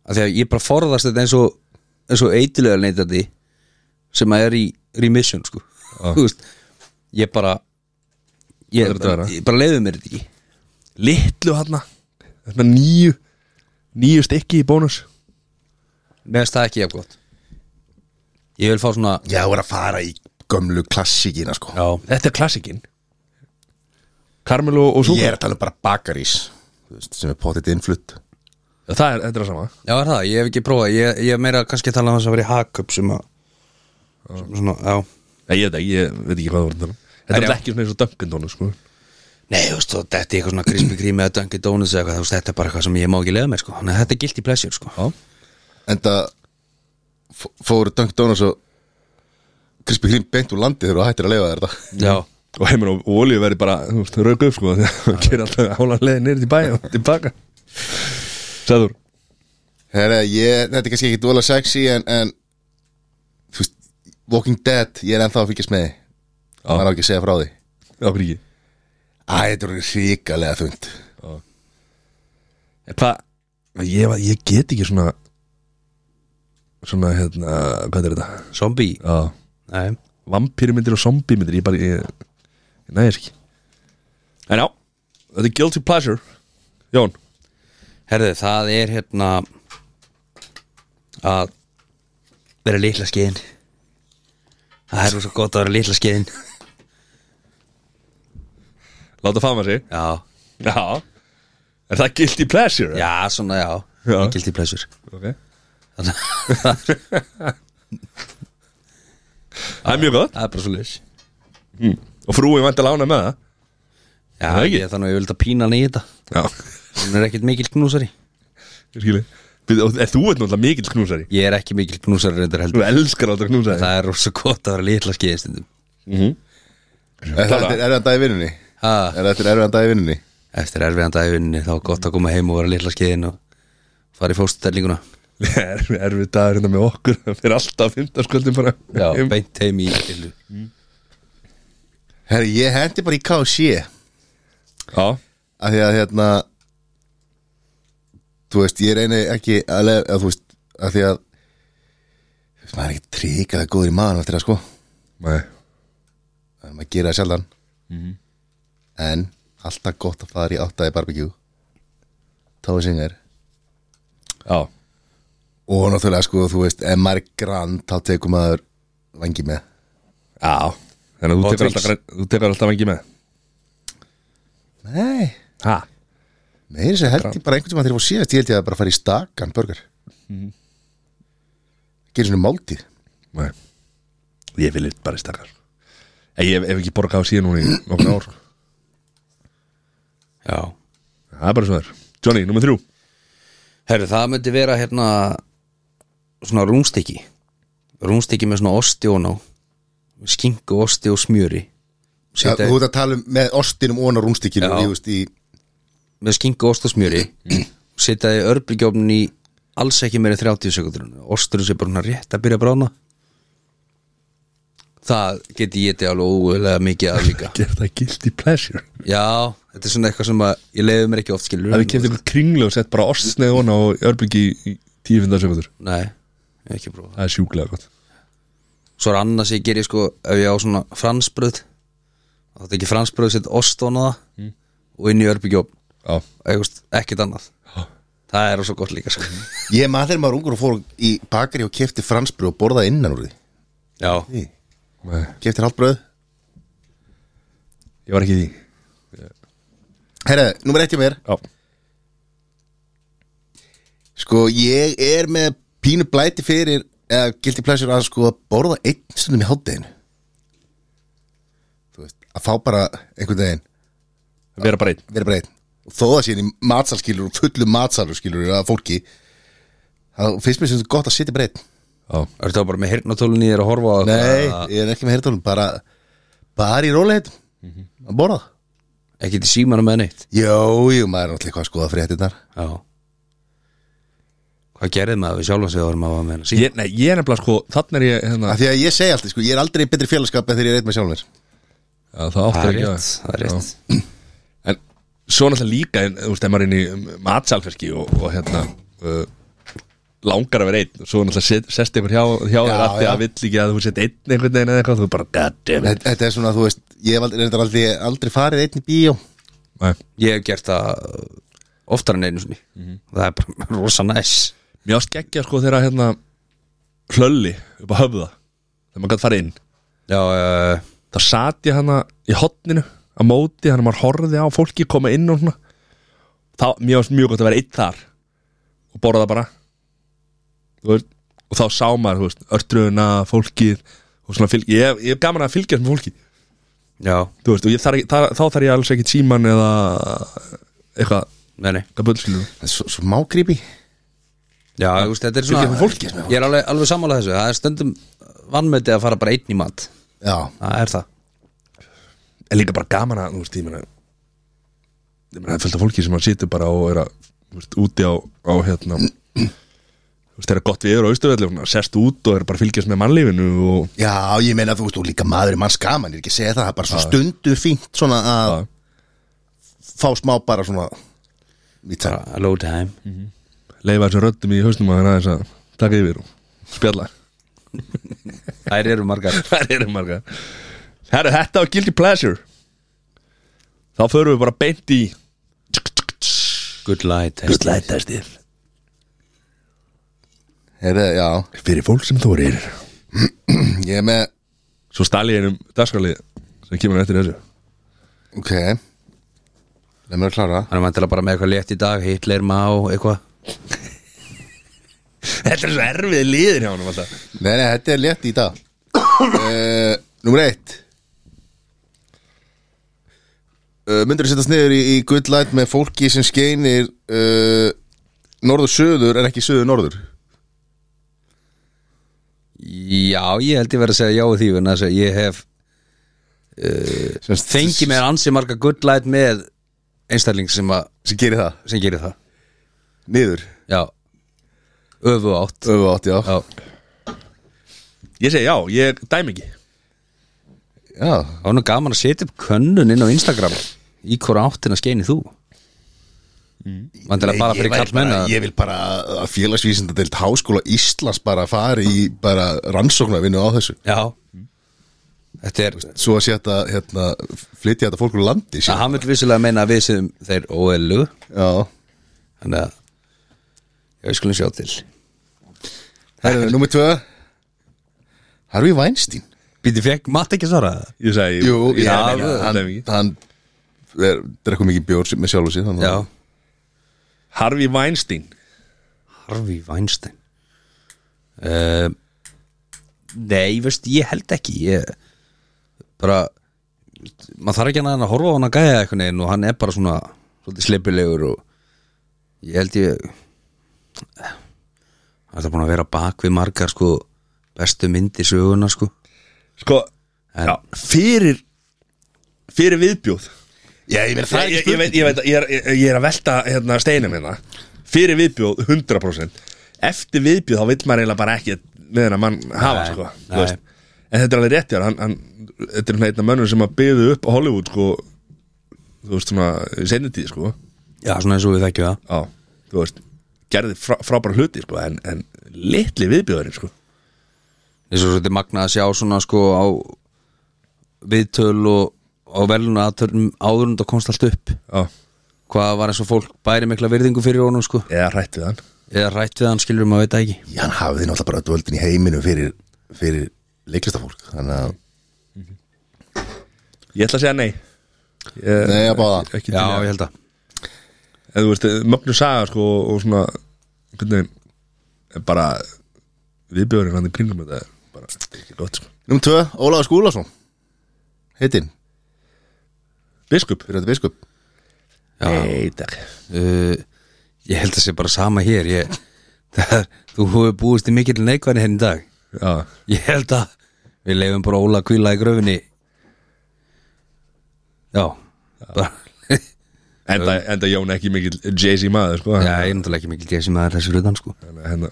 [SPEAKER 3] að Því að ég bara forðast þetta eins og eins og eitilega neytandi sem að er í remission, sko Þú veist, ég bara ég,
[SPEAKER 1] Hvað er þetta að vera?
[SPEAKER 3] ég bara leiði mér þetta ekki
[SPEAKER 1] litlu hana Þarna nýju Nýju stykki í bónus
[SPEAKER 3] Mér finnst það ekki jafn gott Ég vil fá svona
[SPEAKER 2] Já, það er að fara í gömlu klassíkina sko
[SPEAKER 3] Já,
[SPEAKER 1] Þetta er klassikinn Karmelu og
[SPEAKER 2] Ég
[SPEAKER 1] Súka
[SPEAKER 2] er að tala um bara bakarís þú veist, Sem er potið innflutt
[SPEAKER 1] Það er, þetta er það sama
[SPEAKER 3] Já, er það, ég hef ekki prófað Ég, ég er meira kannski að tala um þess að vera í hakup sem að sem svona, já
[SPEAKER 1] Nei, ég veit ekki, ég veit ekki hvað það voru að tala um. Þetta
[SPEAKER 3] Nei,
[SPEAKER 1] er
[SPEAKER 3] já.
[SPEAKER 1] alltaf ekki svona eins og Dunkin Donuts sko.
[SPEAKER 3] Nei, þú veist, þá detti ég eitthvað svona krispy krimi eða Dunkin Donuts eða eitthvað, þú veist, þetta er bara eitthvað sem ég má ekki leiða með, sko Þannig að þetta er guilty pleasure, sko Já,
[SPEAKER 2] Enda f- fóru Dunk Donuts og Krispy Krím beint úr landi þegar þú hættir að leifa þér þetta
[SPEAKER 1] Og heimur og olíu verði bara þú veist, rauk upp sko Þegar hann gerir alltaf álan leiði nýr til bæja og tilbaka Sæður
[SPEAKER 2] Herra, ég, þetta er kannski ekki dvola sexy en, en þú veist, Walking Dead, ég er ennþá að fylgjast með því Það er á ekki að segja frá því
[SPEAKER 1] Já, hvernig ekki
[SPEAKER 2] Æ, þetta er ríkalega þund
[SPEAKER 1] En Hvað? Ég, var- ég get ekki svona Svona, hérna, hvað er þetta?
[SPEAKER 3] Zombie
[SPEAKER 1] Já
[SPEAKER 3] Nei
[SPEAKER 1] Vampýrmyndir og zombímyndir Ég bara, ég, ég næði þess ekki En já, þetta er guilty pleasure Jón
[SPEAKER 3] Herðu, það er hérna að vera litla skeiðin Það er svo gott að vera litla skeiðin
[SPEAKER 1] Láta fama sig
[SPEAKER 3] Já,
[SPEAKER 1] Já Er það guilty pleasure?
[SPEAKER 3] já, svona já,
[SPEAKER 1] Já.
[SPEAKER 3] Guilty pleasure
[SPEAKER 1] Ok Það er mjög gott
[SPEAKER 3] Það er bara svo leys
[SPEAKER 1] Og frúin vant að lána með
[SPEAKER 3] Já,
[SPEAKER 1] Það er ekki.
[SPEAKER 3] ég þannig að ég vil þetta pína hann í þetta
[SPEAKER 1] það Já
[SPEAKER 3] Hún er ekkert mikil knúsari
[SPEAKER 1] Ég skilji Bíddu, og Er þú veit náttúrulega mikill knúsari
[SPEAKER 3] Ég er ekki mikil knúsari reyndar heldur
[SPEAKER 1] Þú elskar alltaf knúsari
[SPEAKER 3] Það er svo gott að vera litla skeiðin stundum
[SPEAKER 1] Mhm.
[SPEAKER 2] Er þetta er erfiðan dag í vinnunni?
[SPEAKER 3] Ha,
[SPEAKER 2] Er þetta erfiðan dag í vinnunni?
[SPEAKER 3] Eftir erfiðan dagvinni þá er gott að koma heim og vera litla skeiðin og fara í fóstutellinguna
[SPEAKER 1] er, Erfið dagur hérna með okkur Það fyrir alltaf fymtarskvöldin bara
[SPEAKER 3] Já,
[SPEAKER 1] heim.
[SPEAKER 3] beint heim í illu
[SPEAKER 2] Herra, ég hendi bara í KC
[SPEAKER 1] Já
[SPEAKER 2] að því að hérna þú veist, ég reyni ekki að, le- að þú veist, að því að þú veist, maður er ekki tryggað góður í maður eftir það sko,
[SPEAKER 1] Nei
[SPEAKER 2] en maður gerir það sjaldan en alltaf gott að fara í áttaði barbecue tóðu singar
[SPEAKER 1] Já
[SPEAKER 2] og náttúrulega sko, þú veist, ef maður er grand þá tekur maður vangi með
[SPEAKER 1] Já Þannig að þú
[SPEAKER 3] Og
[SPEAKER 1] tekur,
[SPEAKER 3] drinks.
[SPEAKER 1] alltaf, græn- þú tekur alltaf vengi með
[SPEAKER 2] nei,
[SPEAKER 1] Ha?
[SPEAKER 2] meira sér held ég bara einhvern sem að þeir fór síðast, ég held ég að bara fara í stakan burger gerir svona máltíð
[SPEAKER 1] Nei Ég vil eitt bara í stakar Ég hef, hef ekki borgað á síðan hún í nokkur ár
[SPEAKER 3] Já
[SPEAKER 1] Það er bara svo þér Johnny, nummer þrjú
[SPEAKER 3] Herru, það myndi vera hérna svona rúnstykki rúnstykki með svona osti og ná skinku, osti og smjöri
[SPEAKER 2] Já,
[SPEAKER 3] Setja-
[SPEAKER 2] þú ert að tala um með ostinum og rúmstykkinu
[SPEAKER 3] eh. Já.
[SPEAKER 2] í, þú veist, í,
[SPEAKER 3] með skinku, osti og smjöri setjaði örbyggjofnin í alls ekki meira en 30 sekundur osturinn sé bara svona rétt að byrja að brána það geti ég þetta alveg ólega mikið að líka
[SPEAKER 1] Ger það guilty pleasure
[SPEAKER 3] já, þetta er svona eitthvað sem að ég leiði mér ekki oft skilur
[SPEAKER 1] Það við kemst eitthvað kringlu og sett bara ostsneið hona og örbyggi í 10-15 sekundur
[SPEAKER 3] nei, ég hef ekki prófa
[SPEAKER 1] Það er sjúklega gott
[SPEAKER 3] svo er annað sem ég gerir sko ef ég á svona fransbröð þá þetta ekki fransbröð setja ost ofan á það og inn í örbyggjóm
[SPEAKER 1] Já,
[SPEAKER 3] ekkert annað það er svo gott líka sko
[SPEAKER 2] ég maður þegar maður ungur og fór í bakari og kefti fransbröð og borðaði innan úr því
[SPEAKER 3] já,
[SPEAKER 1] Nei,
[SPEAKER 2] kefti halvbröð
[SPEAKER 1] ég var ekki í því
[SPEAKER 2] herra, nummer eitt hjá mér
[SPEAKER 1] Já,
[SPEAKER 2] sko, ég er með pínu blæti fyrir eða gildi plessur að sko að borða einn stundum í hátteginu þú veist, að fá bara einhvern veginn,
[SPEAKER 1] það vera bara einn
[SPEAKER 2] vera bara einn og þó að síðan í matsalskilur og fullu matsalskilur að fólki þá finnst mér sem þetta gott að sitja bara einn
[SPEAKER 1] Já,
[SPEAKER 3] er það bara með hirnatólunni þér að horfa á
[SPEAKER 2] Nei,
[SPEAKER 3] eitthvað-
[SPEAKER 2] ég er ekki með hertólum bara, bara í róleitt að borða
[SPEAKER 3] ekkert í símanum með neitt
[SPEAKER 2] Jú, jú, maður er náttúrulega eitthvað að skoða fréttinnar
[SPEAKER 3] já hvað gerðið maður við sjálfum sig að vorum að vera með hennar síman
[SPEAKER 1] ég, Nei, ég er nefnilega sko, þannig er ég hérna,
[SPEAKER 2] Af því að ég segi alltaf, sko, ég er aldrei í betri félagskap en þegar ég er eitt með sjálfum mér
[SPEAKER 1] já, Það áttur
[SPEAKER 3] það er
[SPEAKER 1] ekki
[SPEAKER 3] rétt, það er rétt.
[SPEAKER 1] Já. En svo náttúrulega líka, en, þú veist, ef maður er inn í matsalferki og, og hérna uh, langar að vera einn og svo náttúrulega set, sest einhver hjá, hjá
[SPEAKER 2] Já,
[SPEAKER 1] þér að því
[SPEAKER 2] já.
[SPEAKER 1] að vill ekki að þú sett einn einhvern veginn eða eitthvað, þú bara, god damn it
[SPEAKER 2] Þetta þetta er svona, þú veist, ég hef aldrei, reyndar aldrei, aldrei farið einn í bíó
[SPEAKER 1] Nei.
[SPEAKER 3] ég hef gert það oftar en einu sinni það er bara rosa næs
[SPEAKER 1] Mér ást geggja sko þegar að, hérna hlölli upp á höfða þegar maður gætt farið inn
[SPEAKER 3] já, já, já.
[SPEAKER 1] þá sat ég hana í hotninu á móti, hann maður horfði á fólki koma inn og svona þá, mér varst mjög gott að vera einn þar og borða bara Þú veist, og þá sá maður, þú veist, örtröðuna fólkið og svona fylg ég, ég hef gaman að fylgjast með fólki
[SPEAKER 3] já,
[SPEAKER 1] þú veist, og ég þar, þar, þá þarf ég alls ekkit síman eða eitthvað,
[SPEAKER 3] nei, nei
[SPEAKER 1] hvað bönnskilur
[SPEAKER 2] Það er svo, svo mágripi
[SPEAKER 3] Já, þú veist, þetta er
[SPEAKER 1] Fylgja með
[SPEAKER 3] svona
[SPEAKER 1] fólki, sko.
[SPEAKER 3] Ég er alveg, alveg sammála þessu, það er stundum vannmöti að fara bara einn í mat
[SPEAKER 2] Já,
[SPEAKER 3] Það er það
[SPEAKER 1] en líka bara gaman að, þú veist, ég meina ég meina, það er fullt af fólki sem að situr bara og er að þú veist, úti á, á hérna þú veist, þegar gott við erum á austurvelli sest út og er bara að fylgjast með mannlífinu og
[SPEAKER 2] Já, ég meina þú veist, og líka maður er manns gaman, ég er ekki að segja það, það er bara svona stundu fínt svona að
[SPEAKER 1] Já.
[SPEAKER 2] fá smá bara svona í tæra.
[SPEAKER 3] bara low time
[SPEAKER 1] leifa þessu röddum í hausnum að hann aðeins að taka yfir og spjalla
[SPEAKER 3] Þær eru margar
[SPEAKER 1] það eru marga Herru, þetta var Guilty Pleasure þá förum við bara beint í
[SPEAKER 3] Good light
[SPEAKER 1] slætastið
[SPEAKER 2] Heyrðu, já,
[SPEAKER 1] fyrir fólk sem þórir
[SPEAKER 2] ég er með,
[SPEAKER 1] svo stali ég einum dagskalið sem kemur eftir þessu
[SPEAKER 2] ok, leið mér að klára.
[SPEAKER 3] Hann er vantilega bara með eitthvað létt í dag Hitler, Mao, eitthvað
[SPEAKER 1] þetta er svo erfið liðir hjá hann alltaf
[SPEAKER 2] Nei, nei, þetta er létt í dag. uh, númer eitt. Uh, myndur setjast niður í, í Good Light með fólki sem skeinir uh, norður-söður en ekki söður-norður?
[SPEAKER 3] Já, ég held ég verið að segja já við því vegna þess að ég hef
[SPEAKER 2] Sem-
[SPEAKER 3] fengið mér ansi marga good light með einstakling sem, að,
[SPEAKER 2] Sem gerir það,
[SPEAKER 3] sem gerir það
[SPEAKER 2] niður,
[SPEAKER 3] Já, öfu átt
[SPEAKER 2] öfu átt, já.
[SPEAKER 3] Já,
[SPEAKER 1] ég segi já, ég dæmi ekki
[SPEAKER 2] Já,
[SPEAKER 3] það var nú gaman að setja upp könnun inn á Instagram Í hvora áttina skeini þú? Mm. Vantilega bara
[SPEAKER 2] Ég
[SPEAKER 3] fyrir
[SPEAKER 2] væri
[SPEAKER 3] kallmenn
[SPEAKER 2] bara- Ég vil bara að félagsvísindadeild Háskóla Íslands bara fari í bara rannsóknarvinnu á þessu
[SPEAKER 3] Já Þetta er
[SPEAKER 2] Svo að setja, hérna, flytja þetta fólk úr landi
[SPEAKER 3] að
[SPEAKER 2] sér
[SPEAKER 3] hann vil vissulega meina að við séum þeir óelu
[SPEAKER 2] Já,
[SPEAKER 3] þannig að ég skulum sjá til
[SPEAKER 2] herrðu, nummer tvö Harfi Weinstein
[SPEAKER 3] Býti fekk Matt ekki að svara það?
[SPEAKER 1] ég segi
[SPEAKER 2] Jú,
[SPEAKER 1] ég,
[SPEAKER 2] já,
[SPEAKER 1] dæmi ekki,
[SPEAKER 2] hann,
[SPEAKER 1] dæmi ekki.
[SPEAKER 2] hann er, drekkum mikið bjór sem- með sjálfu sér þannig
[SPEAKER 3] Já,
[SPEAKER 2] að-
[SPEAKER 1] Harvey Weinstein
[SPEAKER 3] Harvey Weinstein uh, Nei, veist, ég held ekki ég, bara maður þarf ekki annað en að horfa á hann að gæja eitthvað neginn og hann er bara svona svolítið sleipilegur og ég held ég Það er búin að vera bak við margar sko bestu myndir söguna sko
[SPEAKER 1] sko,
[SPEAKER 3] En-
[SPEAKER 1] já, fyrir fyrir viðbjóð
[SPEAKER 2] Já, ég meina það er
[SPEAKER 1] ég, ég,
[SPEAKER 2] ekki
[SPEAKER 1] ég, veit, ég, veit, að- ég, er, ég- ég er að velta hérna, steinum hérna fyrir viðbjóð 100% eftir viðbjóð þá vill maður eiginlega bara ekki með hennar mann hafa
[SPEAKER 3] Nei,
[SPEAKER 1] sko,
[SPEAKER 3] nei.
[SPEAKER 1] þú veist. en þetta er alveg rétt hjá þér, hann, hann, þetta er einna mönnum sem að byðu upp á Hollywood sko, þú veist svona í seinni tíð sko,
[SPEAKER 3] Já, svona eins og við þekkjum það
[SPEAKER 1] á, þú veist gerði frá, frábæra hluti sko, en, en litli viðbjóðurinn sko.
[SPEAKER 3] eins og þetta er magna að sjá svona sko á viðtöl og á veluna aðtörnum áður en það komst allt upp
[SPEAKER 1] á,
[SPEAKER 3] hvað var eins og fólk bæri mikla virðingu fyrir honum sko
[SPEAKER 1] eða hrætt við hann
[SPEAKER 3] eða rætt við hann skilur maður veit það ekki
[SPEAKER 2] Já, hann hafði náttúrulega bara dvöldin í heiminum fyrir, fyrir leiklistafólk Þannig að,
[SPEAKER 1] ég ætla að segja nei ég,
[SPEAKER 2] Nei, að báða.
[SPEAKER 1] ekki til
[SPEAKER 3] já
[SPEAKER 1] í að-
[SPEAKER 3] ég held að
[SPEAKER 1] en þú veist, mögnu saga sko og svona hvernig, bara viðbjörðin hann í kringum þetta er bara ekki gott sko
[SPEAKER 2] nummer tvö, Ólaður Skúlason Heitinn,
[SPEAKER 1] Biskup?
[SPEAKER 2] fyrir þetta biskup
[SPEAKER 3] já,
[SPEAKER 1] Nei, takk
[SPEAKER 3] uh, ég held að sé bara sama hér ég, það, er- þú hefur búist í mikil neikvæðin henni í dag
[SPEAKER 1] Já,
[SPEAKER 3] ég held að við leifum bara Óla að kvíla í gröfinni já, bara
[SPEAKER 1] enda, enda Jón ekki mikill Jay-Z maður sko
[SPEAKER 3] já, ég er náttúrulega ekki mikil djessi maður þessi röðan sko
[SPEAKER 1] Þannig að hérna,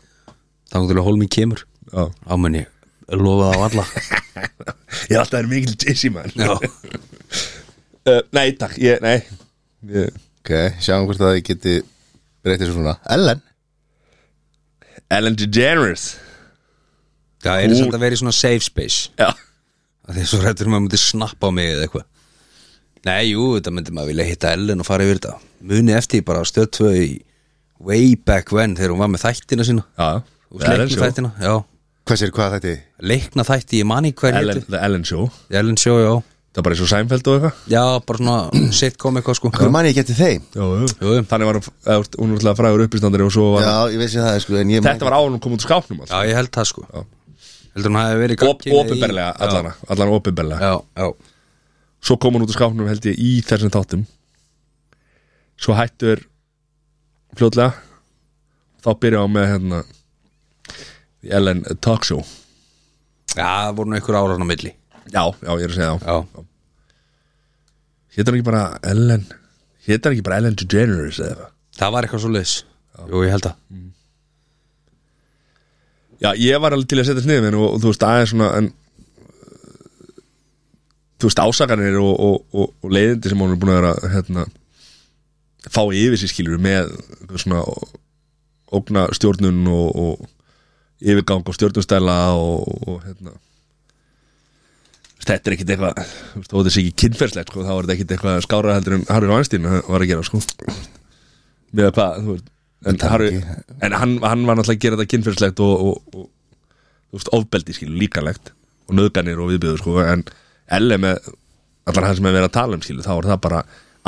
[SPEAKER 3] þá náttúrulega hólminn kemur
[SPEAKER 1] já
[SPEAKER 3] ámenni lofað á alla
[SPEAKER 1] Ég er alltaf verið mikill Jay-Z maður
[SPEAKER 3] já,
[SPEAKER 1] uh, Nei, takk, ég, nei ég,
[SPEAKER 2] Ok, sjáum hvort að ég geti breytið svo svona Ellen
[SPEAKER 1] Ellen DeGeneres
[SPEAKER 3] já er það samt að vera í svona safe space
[SPEAKER 1] Já
[SPEAKER 3] að því svo rættur maður myndi snappa á mig eða eitthvað nei, jú, þetta myndi maður vilja hitta Ellen og fara yfir þetta muni eftir því bara á stöð 2 í way back when þegar hún var með þættina sína
[SPEAKER 1] Já,
[SPEAKER 3] og
[SPEAKER 1] The Ellen
[SPEAKER 3] sleikna
[SPEAKER 1] Show
[SPEAKER 3] þættina, já
[SPEAKER 2] Hvað sér, hvað þetta er?
[SPEAKER 3] leikna þætti, ég mani hver
[SPEAKER 1] Ellen,
[SPEAKER 3] hétu
[SPEAKER 1] The Ellen Show
[SPEAKER 3] Ellen sjó, já,
[SPEAKER 1] Það er bara eins og Seinfeld og eitthvað
[SPEAKER 3] já, bara svona sitcom eitthvað sko
[SPEAKER 2] Hver manni ég geti þeim?
[SPEAKER 1] Jú,
[SPEAKER 3] Jú, jú.
[SPEAKER 1] Þannig var hún, eða, þú veist, hún er alltaf frægur uppistandari og svo var
[SPEAKER 2] Já, ég veist ég það, sko, en ég
[SPEAKER 1] Þetta var áður hún kom út úr skápnum alltaf
[SPEAKER 3] já, ég held það sko
[SPEAKER 1] Já.
[SPEAKER 3] heldur hún hafi
[SPEAKER 1] Op,
[SPEAKER 3] verið gagnkynja í-
[SPEAKER 1] opinberlega,
[SPEAKER 3] Já,
[SPEAKER 1] allana, allana opinberlega
[SPEAKER 3] já, já,
[SPEAKER 1] Svo kom hún út úr skápnum held ég í þessum þáttum Svo hættur fljótlega Þá byrja á með hérna The Ellen Talk Show
[SPEAKER 3] já, það voru nú einhver áraðan á milli
[SPEAKER 1] Já, já, ég er að segja þá
[SPEAKER 3] já,
[SPEAKER 1] Hétar hann ekki bara Ellen Hétar hann ekki bara Ellen DeGeneres eða eitthvað
[SPEAKER 3] Það var eitthvað svo leiðis Jú, ég held að
[SPEAKER 1] Já, ég var alveg til að setja sniðum en, og, og þú veist, aðeins svona en, uh, þú veist, ásakanir og, og, og, og leiðindi sem hún er búin að vera hérna, fá yfir sér skilur með eitthvað svona ógna stjórnun og, og yfirgang og stjórnunstæla og, og hérna Þetta er ekkit eitthvað, þú veist, þó þetta sé ekki kynferðslegt, sko, þá er þetta ekkit eitthvað skára heldur en Harry Weinstein var að gera, sko með að hvað, þú veist en,
[SPEAKER 2] er
[SPEAKER 1] Harry,
[SPEAKER 2] ekki-
[SPEAKER 1] en hann, hann var náttúrulega að gera þetta kynferðslegt og, og, og þú veist, ofbeldi skilur líkalegt og nöðganir og viðbjöður, sko, en elle með allar hann sem er verið að tala um skilur, þá er það bara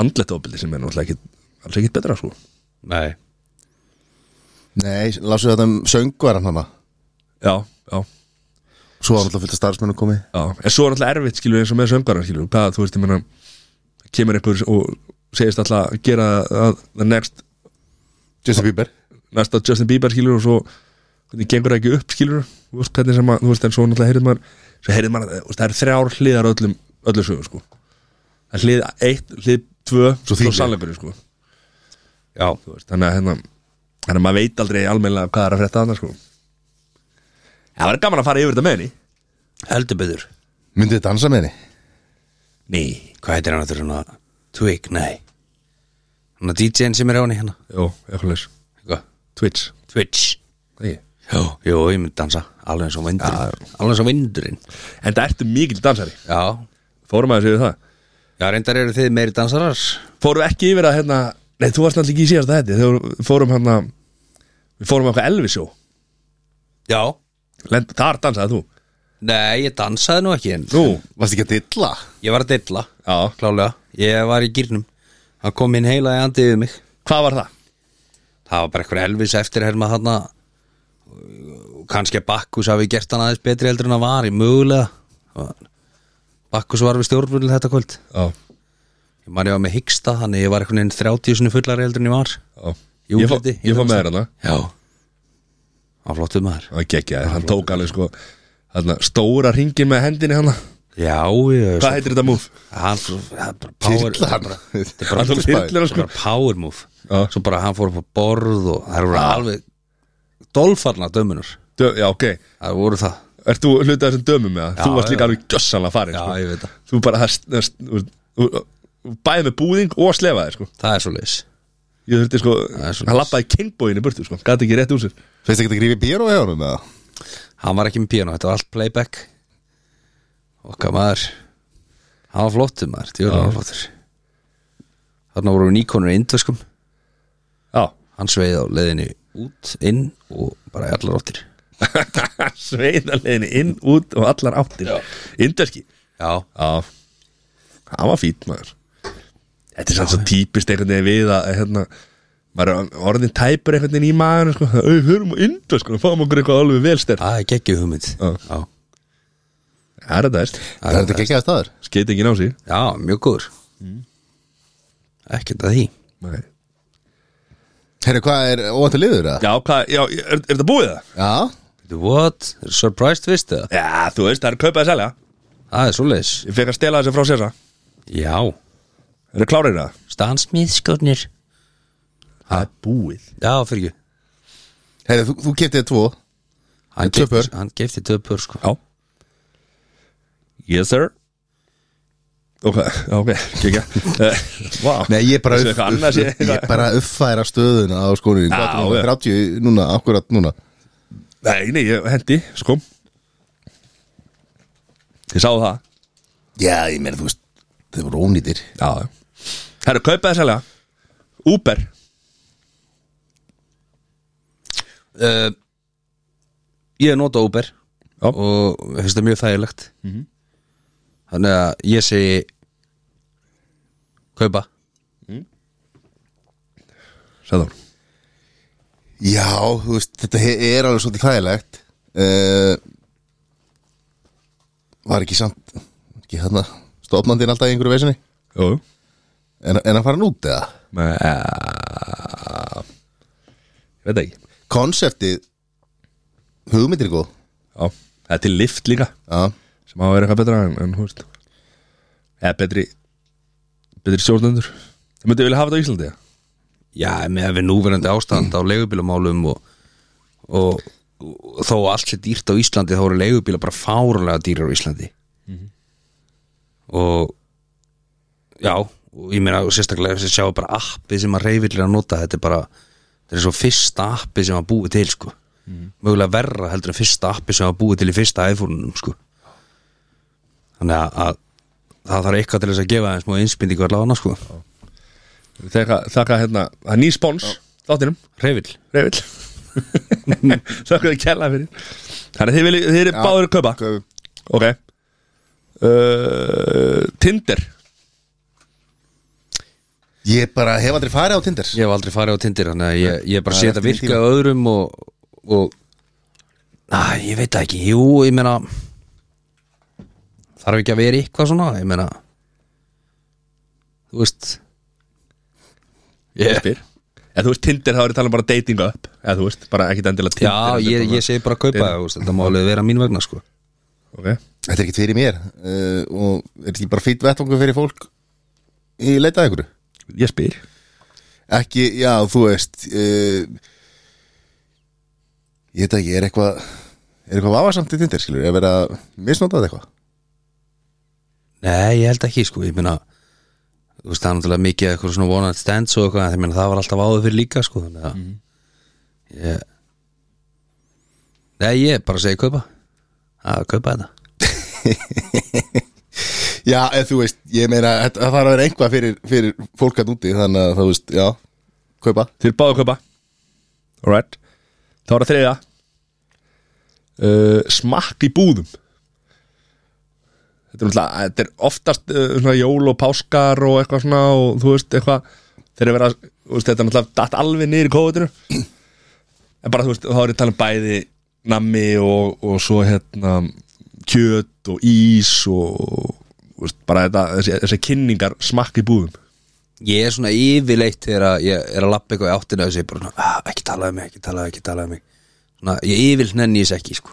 [SPEAKER 1] andlegt ofbeldi sem er náttúrulega ekkit, alls ekkit betra, sko
[SPEAKER 3] Nei
[SPEAKER 2] Nei, lásu þetta um söngvaran hana
[SPEAKER 1] Já, já,
[SPEAKER 2] Svo var alltaf fullt af starfsmennum komið
[SPEAKER 1] já, en svo er náttúrulega erfitt skilur eins og með söngvaran skilur, hvað, þú veist, ég meina kemur einhver og segist alltaf að gera að, the next
[SPEAKER 2] Justin Bieber
[SPEAKER 1] næsta Justin Bieber skilur og svo hvernig gengur það ekki upp skilur þú veist, hvernig sem að, þú veist, en svo náttúrulega heyrið maður svo heyrið maður, þú veist, það er þrjár hliðar á öllum öllu sögum, sko það er hlið eitt, hlið tvö,
[SPEAKER 2] Svo
[SPEAKER 1] svo,
[SPEAKER 2] þín
[SPEAKER 1] svo
[SPEAKER 2] hlið.
[SPEAKER 1] sannleikurinn, sko
[SPEAKER 3] Já,
[SPEAKER 1] Þú veist, þannig að, hérna, þannig að maður veit aldrei almennilega hvað er að frétta þarna, sko það var gaman að fara yfir þetta með henni
[SPEAKER 3] heldur betur
[SPEAKER 2] Myndið þið dansa með henni?
[SPEAKER 1] ný,
[SPEAKER 3] Hvað heitir hann aftur hann að Twig, nei Hann að DJ-in sem er á henni hérna
[SPEAKER 1] jú, eitthvað leys
[SPEAKER 3] Eitthvað.
[SPEAKER 1] Twitch,
[SPEAKER 3] Twitch
[SPEAKER 1] ekki
[SPEAKER 3] Jó, Jó, ég myndi dansa Alveg eins og vindurinn Alveg eins og vindurinn
[SPEAKER 1] en það ertu mikil dansari,
[SPEAKER 3] Já
[SPEAKER 1] fórum aðeins yfir það
[SPEAKER 3] Já, reyndar eru þið meiri dansarar
[SPEAKER 1] fórum ekki yfir að, hérna, nei, þú varst náttúrulega ekki í síðasta þetta, þegar fórum, hérna við fórum á eitthvað Elvisjó
[SPEAKER 3] Já
[SPEAKER 1] Lend, þar dansaði þú
[SPEAKER 3] Nei, ég dansaði nú ekki en
[SPEAKER 1] Nú,
[SPEAKER 2] Varst ekki að dilla?
[SPEAKER 3] Ég var að dilla
[SPEAKER 1] já,
[SPEAKER 3] Klálega Ég var í gýrnum Það kom inn heila í andið við mig
[SPEAKER 1] hvað var það?
[SPEAKER 3] Það var bara eitthvað Elvis eftirherma þarna kannski að Bakkus hafi gert hann aðeins betri heldur en að var í mögulega Og Bakkus var við stjórnvöld þetta kvöld
[SPEAKER 1] Já,
[SPEAKER 3] Ég man ég var með hyggsta þannig ég var einhvern veginn 30 sinni fullari heldur en ég var
[SPEAKER 1] já
[SPEAKER 3] Jú,
[SPEAKER 1] Ég fó,
[SPEAKER 3] Freddi,
[SPEAKER 1] ég fó
[SPEAKER 3] ég
[SPEAKER 1] með þér hana
[SPEAKER 3] Já Það var flottuð maður
[SPEAKER 1] Það gekkja,
[SPEAKER 3] Ah,
[SPEAKER 1] hann tók alveg sko hana, Stóra ringin með hendinni hana
[SPEAKER 3] Já, ég
[SPEAKER 1] Hvað heitir þetta múf?
[SPEAKER 3] Hann fór- það er bara power
[SPEAKER 2] Dilla hann
[SPEAKER 3] er
[SPEAKER 1] Hann tók
[SPEAKER 2] Dilla
[SPEAKER 1] hildlina
[SPEAKER 3] bara
[SPEAKER 1] sko
[SPEAKER 3] power move
[SPEAKER 1] Já.
[SPEAKER 3] Svo bara hann fór upp á borð og það voru alveg dolfarna dömunur
[SPEAKER 1] Dö, Já, ok
[SPEAKER 3] Það voru það
[SPEAKER 1] Ert þú hlutað þessum dömum með það?
[SPEAKER 3] Já,
[SPEAKER 1] Þú varst líka
[SPEAKER 3] já.
[SPEAKER 1] alveg gjössanlega farin
[SPEAKER 3] Já,
[SPEAKER 1] sko.
[SPEAKER 3] ég veit það
[SPEAKER 1] Þú bara það, það, það, það, Bæði með búðing og slefaði sko
[SPEAKER 3] Það er svo leis
[SPEAKER 1] Ég þurfti sko
[SPEAKER 3] Það er svoleiðis.
[SPEAKER 1] Hann lappaði kingbóinu burtu sko Gat ekki rétt úr sér
[SPEAKER 2] Feist ekki að grífi bíru á hefnum með það?
[SPEAKER 3] Hann var ekki með piano, þetta var allt playback Okkar maður Hann var flottur maður, djúlega hann var flottur Þarna voru við nýkonur í indverskum
[SPEAKER 1] Já
[SPEAKER 3] Hann sveið á leiðinni út, inn og bara í allar óttir
[SPEAKER 1] Sveinarleginni inn, út og allar áttir Indverski
[SPEAKER 3] Já,
[SPEAKER 1] Já, það var fýt maður Þetta er sann svo típist einhvern veginn við að hérna, maður er orðin tæpur einhvern veginn í maður sko, "Ey, hörum á indu, sko, fáum okkur eitthvað alveg vel stert
[SPEAKER 3] það er geggjum hugmynd
[SPEAKER 1] Já.
[SPEAKER 3] Já,
[SPEAKER 1] Það er þetta veist,
[SPEAKER 2] Það er þetta ekki ekki að staður
[SPEAKER 1] skeit ekki ná sig
[SPEAKER 3] Já mjög góður Ekkert að því
[SPEAKER 1] Nei.
[SPEAKER 2] Herru, hvað er óvænt að liður það?
[SPEAKER 1] Já, hvað, já, er, er þetta búið það?
[SPEAKER 2] Já
[SPEAKER 3] Veitu What? Er surprise twist eða?
[SPEAKER 1] Já, þú veist, það er kaupað að selja
[SPEAKER 3] Það er svo leis
[SPEAKER 1] Ég fekk að stela þessu frá sér það
[SPEAKER 3] Já,
[SPEAKER 1] Er það klárið það?
[SPEAKER 3] stansmiðskotnir
[SPEAKER 1] Það er búið
[SPEAKER 3] Já, fyrir ekki
[SPEAKER 2] Herru, þú, þú getið tvo
[SPEAKER 3] Hann
[SPEAKER 2] Tvö pör.
[SPEAKER 3] gefti- Hann gefti töpur sko
[SPEAKER 1] Já Yes, sir Ok, já, ok, kekja Vá
[SPEAKER 2] Nei, ég bara,
[SPEAKER 1] Þessu eitthvað annað sé-
[SPEAKER 2] ég bara uppfæra stöðuna á skónunni
[SPEAKER 1] Já,
[SPEAKER 2] Hvað er
[SPEAKER 1] já.
[SPEAKER 2] 30 núna, akkurat núna
[SPEAKER 1] Nei, nei, ég hendi, sko Ég sá það
[SPEAKER 2] Já, ég meina, þú veist, þau voru ónýtir
[SPEAKER 1] Já, já Herru, kaupaði sérlega Uber
[SPEAKER 3] uh, Ég hef notað Uber
[SPEAKER 1] Já.
[SPEAKER 3] og mér finnst það mjög þægilegt Þannig að ég segi kaupa
[SPEAKER 1] Sæður
[SPEAKER 2] Já, þú veist, þetta he- er alveg svolítið þægilegt uh, Var ekki samt ekki hérna stofnandinn alltaf í einhverju vesinni
[SPEAKER 1] Jú, jú
[SPEAKER 2] en, en að fara hann út eða?
[SPEAKER 1] Men, uh, Ég veit það ekki
[SPEAKER 2] Konseptið hugmyndir er góð
[SPEAKER 1] Já, það er til lift líka
[SPEAKER 2] Já,
[SPEAKER 1] sem hafa verið eitthvað betra en, en hú veist eða betri betri stjórnendur Það myndi vilja hafa þetta á Íslandi, já
[SPEAKER 3] já, með við núverandi ástand á leigubílamálum og, og, og þó að allt sé dýrt á Íslandi þá eru leigubíla bara fáránlega dýrar á Íslandi og já, og ég meina og sérstaklega þess að sjá bara appi sem að reyfillir að nota þetta er bara, þetta er svo fyrsta appi sem að búið til sko mögulega verra heldur en fyrsta appi sem að búið til í fyrsta iPhone-num sko þannig að, að það þarf eitthvað til þess að gefa þeim smá einspindingu allavega sko,
[SPEAKER 1] Þakka, þakka hérna, það er ný spons Þáttinum,
[SPEAKER 3] reyfill
[SPEAKER 1] Reyvill Þakka þið kjærlega fyrir Þannig að þið viljið, þið eru báður að kaupa
[SPEAKER 2] Hvað-
[SPEAKER 1] Ok uh, Tinder
[SPEAKER 2] Ég bara hef aldrei farið á Tinder
[SPEAKER 3] Ég hef aldrei farið á Tinder Þannig að ég, ég bara
[SPEAKER 2] Það er
[SPEAKER 3] sé þetta
[SPEAKER 2] eftir mín
[SPEAKER 3] virka öðrum og, og Næ, ég veit það ekki Jú, ég meina Þarf ekki að vera eitthvað svona Ég meina Þú veist
[SPEAKER 1] Ég spyr Ef þú veist Tinder þá er ég talað um bara dating up Ef þú veist, bara ekkit endilega Tinder
[SPEAKER 3] Já,
[SPEAKER 1] heldur
[SPEAKER 3] ég,
[SPEAKER 1] bara-
[SPEAKER 3] ég segi bara að kaupa það þú veist, Þetta má alveg vera mín vegna sko
[SPEAKER 1] Ok
[SPEAKER 2] Þetta er ekkert fyrir mér uh, og er ekki bara fýtt vettvangu fyrir fólk í leitað ykkur
[SPEAKER 1] Ég spyr
[SPEAKER 2] Ekki, já, þú veist uh, Ég veit ekki, er eitthvað er eitthvað vafasamt í Tinder, skilur, er verið að misnotað eitthvað
[SPEAKER 3] Nei, ég held ekki sko Ég meina Þú veist, það er náttúrulega mikið eitthvað svona one night stands og eitthvað en ég meina, það var alltaf áður fyrir líka sko Þannig að ég, Nei, ég bara segi kaupa að kaupa þetta
[SPEAKER 2] Já, eða þú veist, ég meina þetta- það þarf að vera einhvað fyrir, fyrir fólk að úti þannig að þú veist, já, kaupa
[SPEAKER 1] Þið eru báður að kaupa Alright Þá er það þriða uh, Smakk í búðum Þetta er, náttúrulega- þetta er oftast uh, svona, jól og páskar og eitthvað svona og þú veist eitthvað þegar vera, þú veist, þetta er náttúrulega datt alveg niður í kóðutinu en bara þú veist, þá er ég að tala um bæði nammi og, og svo hérna kjöt og ís og þú veist, bara þetta, þessi, þessi kynningar smakk í búðum
[SPEAKER 3] Ég er svona yfirleitt þegar að ég er að lappa eitthvað í áttina þessi bara, svona, ah, ekki tala um mig, ekki tala, ekki tala um mig svona, ég yfirleitt nenni þess ekki sko.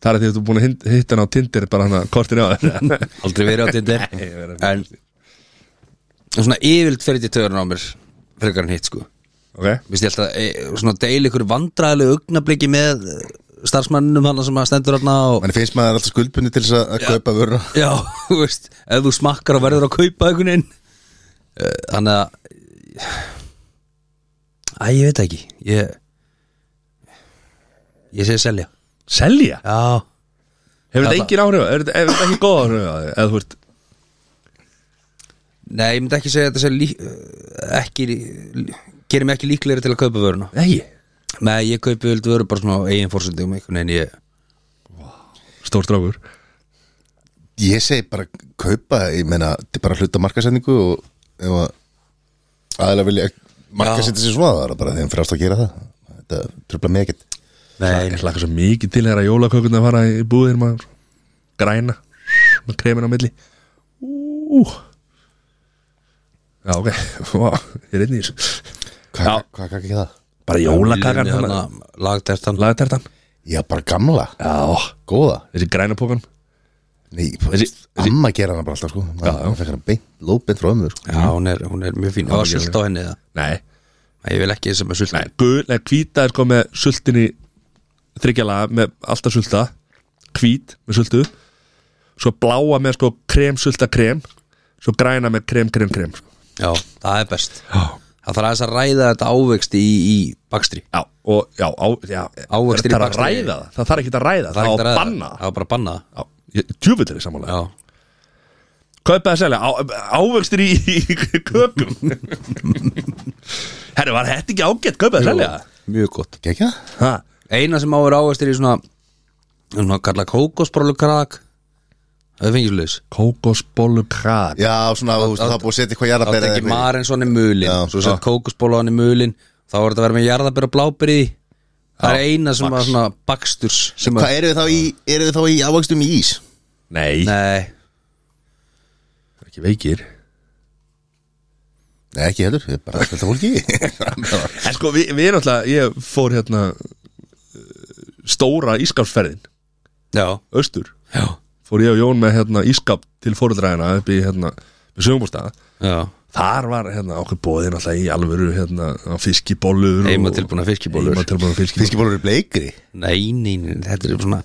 [SPEAKER 1] Það er því að þú er búin að hin- hitta hann á Tinder bara hann að kortinu á þetta
[SPEAKER 3] aldrei verið á Tinder en svona yfirleitt fer þetta í törun á mér frekar en hitt sko
[SPEAKER 1] Ok
[SPEAKER 3] Vist, ég held að, e, svona deil ykkur vandræðilegu augnabliki með eh, starfsmanninum hann sem að stendur hann og
[SPEAKER 2] Manni finnst maður alltaf skuldbundi til þess að, að kaupa vöruna
[SPEAKER 3] já, þú veist, ef þú smakkar og verður að kaupa einhvern veginn Eh, þannig að Æ, ég veit það ekki ég ég segi selja
[SPEAKER 1] Selja?
[SPEAKER 3] Já,
[SPEAKER 1] Hefur þetta
[SPEAKER 3] Já,
[SPEAKER 1] engin áhrif? Hefur þetta hefur þetta ekki góð áhrif? á þig? Eða þú veist
[SPEAKER 3] nei, ég myndi ekki segja að þetta sé lí, eh, ekki lí- gerir mig ekki líklegri til að kaupa vöruna
[SPEAKER 1] Nei
[SPEAKER 3] Nei, ég kaupi völd vöru bara svona á eigin fórsendum einhvern veginn ég
[SPEAKER 1] Stór strákur
[SPEAKER 2] Ég segi bara kaupa, ég meina þetta er bara hluta markasendingu og ef að aðeinslega vilja markasendingu sér svona, það er það bara þeim frást að gera það þetta tröfla mig ekkert
[SPEAKER 3] Nei,
[SPEAKER 1] Ég slaka svo mikið til þegar að jólakökun að fara í búðir maður Græna Með kremin á milli Ú Já ok Vá, Ég er inn í þessu
[SPEAKER 2] Hvað
[SPEAKER 1] Já.
[SPEAKER 2] hvað kakki það?
[SPEAKER 1] Bara jólakakan
[SPEAKER 3] hérna, Lagtertan
[SPEAKER 1] Lagatertan
[SPEAKER 2] Já, bara gamla,
[SPEAKER 1] Já
[SPEAKER 2] góða
[SPEAKER 1] Þessi græna pókan
[SPEAKER 2] Nei, þessi,
[SPEAKER 1] Þessi-
[SPEAKER 2] amma gera hana bara alltaf sko Já,
[SPEAKER 1] já.
[SPEAKER 2] Það fekk hana beint, lóbeint frá ömmu sko.
[SPEAKER 3] Já, hún er, hún er mjög fín Það var sult á henni það
[SPEAKER 1] Nei
[SPEAKER 3] Nei, ég vil ekki þess að með sult
[SPEAKER 1] Nei, gul, nei, hvíta er sko með sultin í þryggjalaga með alltaf sulta hvít með sultu svo bláa með sko krem, sulta, krem svo græna með krem, krem, krem sko.
[SPEAKER 3] Já, það er best
[SPEAKER 1] Já.
[SPEAKER 3] Það þarf aðeins að ræða þetta ávegsti í, í bakstri
[SPEAKER 1] Já, og já, á, já
[SPEAKER 3] Ávextir
[SPEAKER 1] Það þarf
[SPEAKER 3] í
[SPEAKER 1] að
[SPEAKER 3] bakstegi.
[SPEAKER 1] ræða það, það þarf ekki að ræða það,
[SPEAKER 3] er
[SPEAKER 1] það á
[SPEAKER 3] ekkert
[SPEAKER 1] að
[SPEAKER 3] ræða
[SPEAKER 1] banna
[SPEAKER 3] Það var bara að banna það.
[SPEAKER 1] það. Já, djúvill er í samanlega
[SPEAKER 3] Já,
[SPEAKER 1] Kaupa það selja, á, ávegstir í, í kökum Herri, var þetta ekki ágætt, kaupa það selja
[SPEAKER 3] mjög gott
[SPEAKER 2] Gekja?
[SPEAKER 1] Ha,
[SPEAKER 3] Eina sem áver ávegsti er í svona Svona kalla kókosbrólukrak Það er fengisleis
[SPEAKER 1] Kókosbollu krak
[SPEAKER 2] Já, svona, þú veist, það er búið að setja eitthvað
[SPEAKER 3] Það
[SPEAKER 2] jarðabera
[SPEAKER 3] er
[SPEAKER 2] eða
[SPEAKER 3] ekki
[SPEAKER 2] eitthvað í.
[SPEAKER 3] marinn svona í mulin
[SPEAKER 2] Já,
[SPEAKER 3] Svo sett kókosbólan í mulin Þá var þetta að vera með jarðabir og blábyrði Það er eina sem var svona baksturs sem að,
[SPEAKER 2] Hvað eru þið þá í, eru þið þá í ávakstum í ís?
[SPEAKER 1] Nei,
[SPEAKER 3] Nei,
[SPEAKER 1] ekki veikir
[SPEAKER 2] Nei, ekki heldur, ég er bara svelta fólki Já,
[SPEAKER 1] En sko, við, við erum alltaf, ég fór hérna uh, stóra ískapsferðin,
[SPEAKER 3] já,
[SPEAKER 1] austur
[SPEAKER 3] já,
[SPEAKER 1] fór ég og Jón með hérna ískap til fóruðræðina upp í hérna, við sögumbústaða
[SPEAKER 3] já
[SPEAKER 1] Þar var hérna okkur bóðin alltaf í alvöru hérna, fiskibólur
[SPEAKER 3] Heimatilbúnar fiskibólur.
[SPEAKER 1] Heimatilbúna fiskibólur
[SPEAKER 2] Fiskibólur er bleikri
[SPEAKER 3] Nei, nei, nei, þetta er svona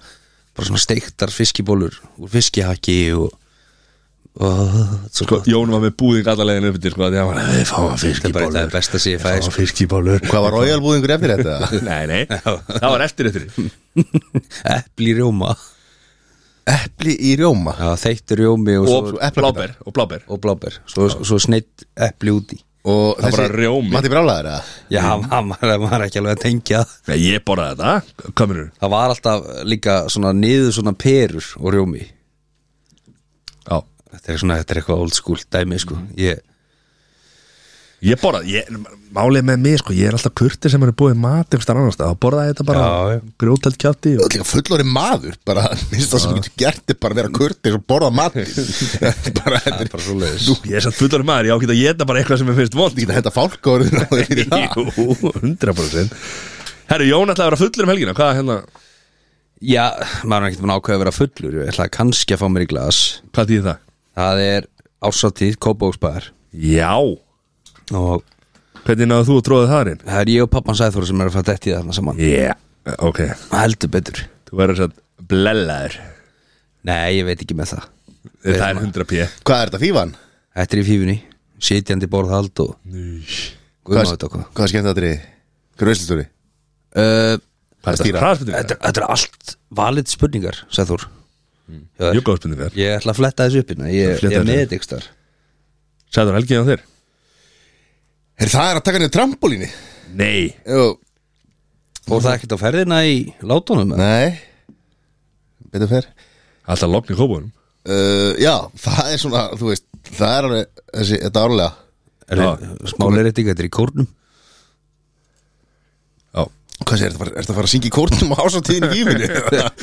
[SPEAKER 3] bara svona steiktar fiskibólur úr fiskihaki og, og svo
[SPEAKER 1] Sko,
[SPEAKER 3] gott.
[SPEAKER 1] Jón var með búðing allalegin upp til sko, því að hann var, við fáum
[SPEAKER 3] Þetta er bara-
[SPEAKER 1] fiskibólur
[SPEAKER 3] þetta er best að sé ég sko. fæði
[SPEAKER 1] Fáum fiskibólur
[SPEAKER 2] Hvað var royalbúðingur eftir þetta?
[SPEAKER 1] Nei, nei, það var eftir eftir
[SPEAKER 3] epli í rjóma
[SPEAKER 2] Epli í rjóma
[SPEAKER 3] Já, þeittur rjómi og,
[SPEAKER 1] Og
[SPEAKER 3] svo,
[SPEAKER 2] eplakjöt.
[SPEAKER 1] bláber, og bláber
[SPEAKER 3] og bláber svo, svo sneitt epli úti
[SPEAKER 2] Og
[SPEAKER 1] Það var bara rjómi.
[SPEAKER 2] Matti brálaður eða?
[SPEAKER 3] Já, mm. maður maður er ekki alveg að tengja það.
[SPEAKER 1] Nei, ég borðaði þetta, kominu
[SPEAKER 3] Það var alltaf líka svona niður svona perur og rjómi
[SPEAKER 1] Já,
[SPEAKER 3] Þetta er svona, þetta er eitthvað old school dæmi sko Ég,
[SPEAKER 1] ég borðaði, ég, málið með mig sko, ég er alltaf kurtið sem eru búið mat einhverstað annars, þá borðaði þetta bara
[SPEAKER 3] Já, já.
[SPEAKER 1] grjótald kjátti
[SPEAKER 2] Þú ert líka fullori maður bara, minnst það sem getur gert er bara að vera kurtis og borða mati bara, þetta er bara svo leiðis Þú
[SPEAKER 1] Ég er satt fullar maður, ég ákveð að geta bara eitthvað sem er finnst vond
[SPEAKER 2] getur hætta fálkórið á þér í það
[SPEAKER 1] Jú, 100% Herru, Jón ætlaði að vera fullur um helgina Hvað, hérna,
[SPEAKER 3] já, maður er ekkert búin að ákveða að vera fullur Ég ætla kannski að fá mér í glas
[SPEAKER 1] hvað þýði það?
[SPEAKER 3] Það er ásatíð Kópóksbæðar
[SPEAKER 1] Já,
[SPEAKER 3] og
[SPEAKER 1] hvernig náðu þú að tróða það inn?
[SPEAKER 3] það er ég og pappan Sæþór sem er að fara detti þarna saman
[SPEAKER 1] Yeah, ok
[SPEAKER 3] Heldur betur
[SPEAKER 1] Þú verður satt blellaður
[SPEAKER 3] Nei, ég veit ekki með það
[SPEAKER 1] Það er 100 p
[SPEAKER 2] Hvað er þetta, fífan?
[SPEAKER 3] Þetta er í fífunni, sitjandi borðhald og
[SPEAKER 2] Hvað,
[SPEAKER 3] guðmáðu þetta okkur
[SPEAKER 2] hvað er skemmt þetta er? Hver er veislustóri?
[SPEAKER 3] uh,
[SPEAKER 1] Hvað er
[SPEAKER 2] stýra?
[SPEAKER 1] það? Hraðspendingar?
[SPEAKER 3] þetta, þetta er allt valid spurningar, Sæþór mm.
[SPEAKER 1] Júkáðspendingar
[SPEAKER 3] Ég ætla að fletta þessu upp hérna Ég,
[SPEAKER 1] Fletta
[SPEAKER 3] ég
[SPEAKER 1] þessu.
[SPEAKER 3] er með þetta ykkur
[SPEAKER 1] Sæður helgið á þér?
[SPEAKER 2] Er það er að taka niður trampolíni?
[SPEAKER 1] Nei
[SPEAKER 2] Jú,
[SPEAKER 3] Fór það ekkert á ferðina í látunum? eða?
[SPEAKER 2] nei Betur fer
[SPEAKER 1] Alltaf lokn í kópunum
[SPEAKER 2] uh, Já, það er svona, þú veist Það er alveg, þessi, þetta árlega
[SPEAKER 3] Er það smáleir eitthvað, þetta er í kórnum
[SPEAKER 1] Já
[SPEAKER 2] Hvað segir þetta, er þetta að fara að syngja í kórnum á ásatíðin í fífinu?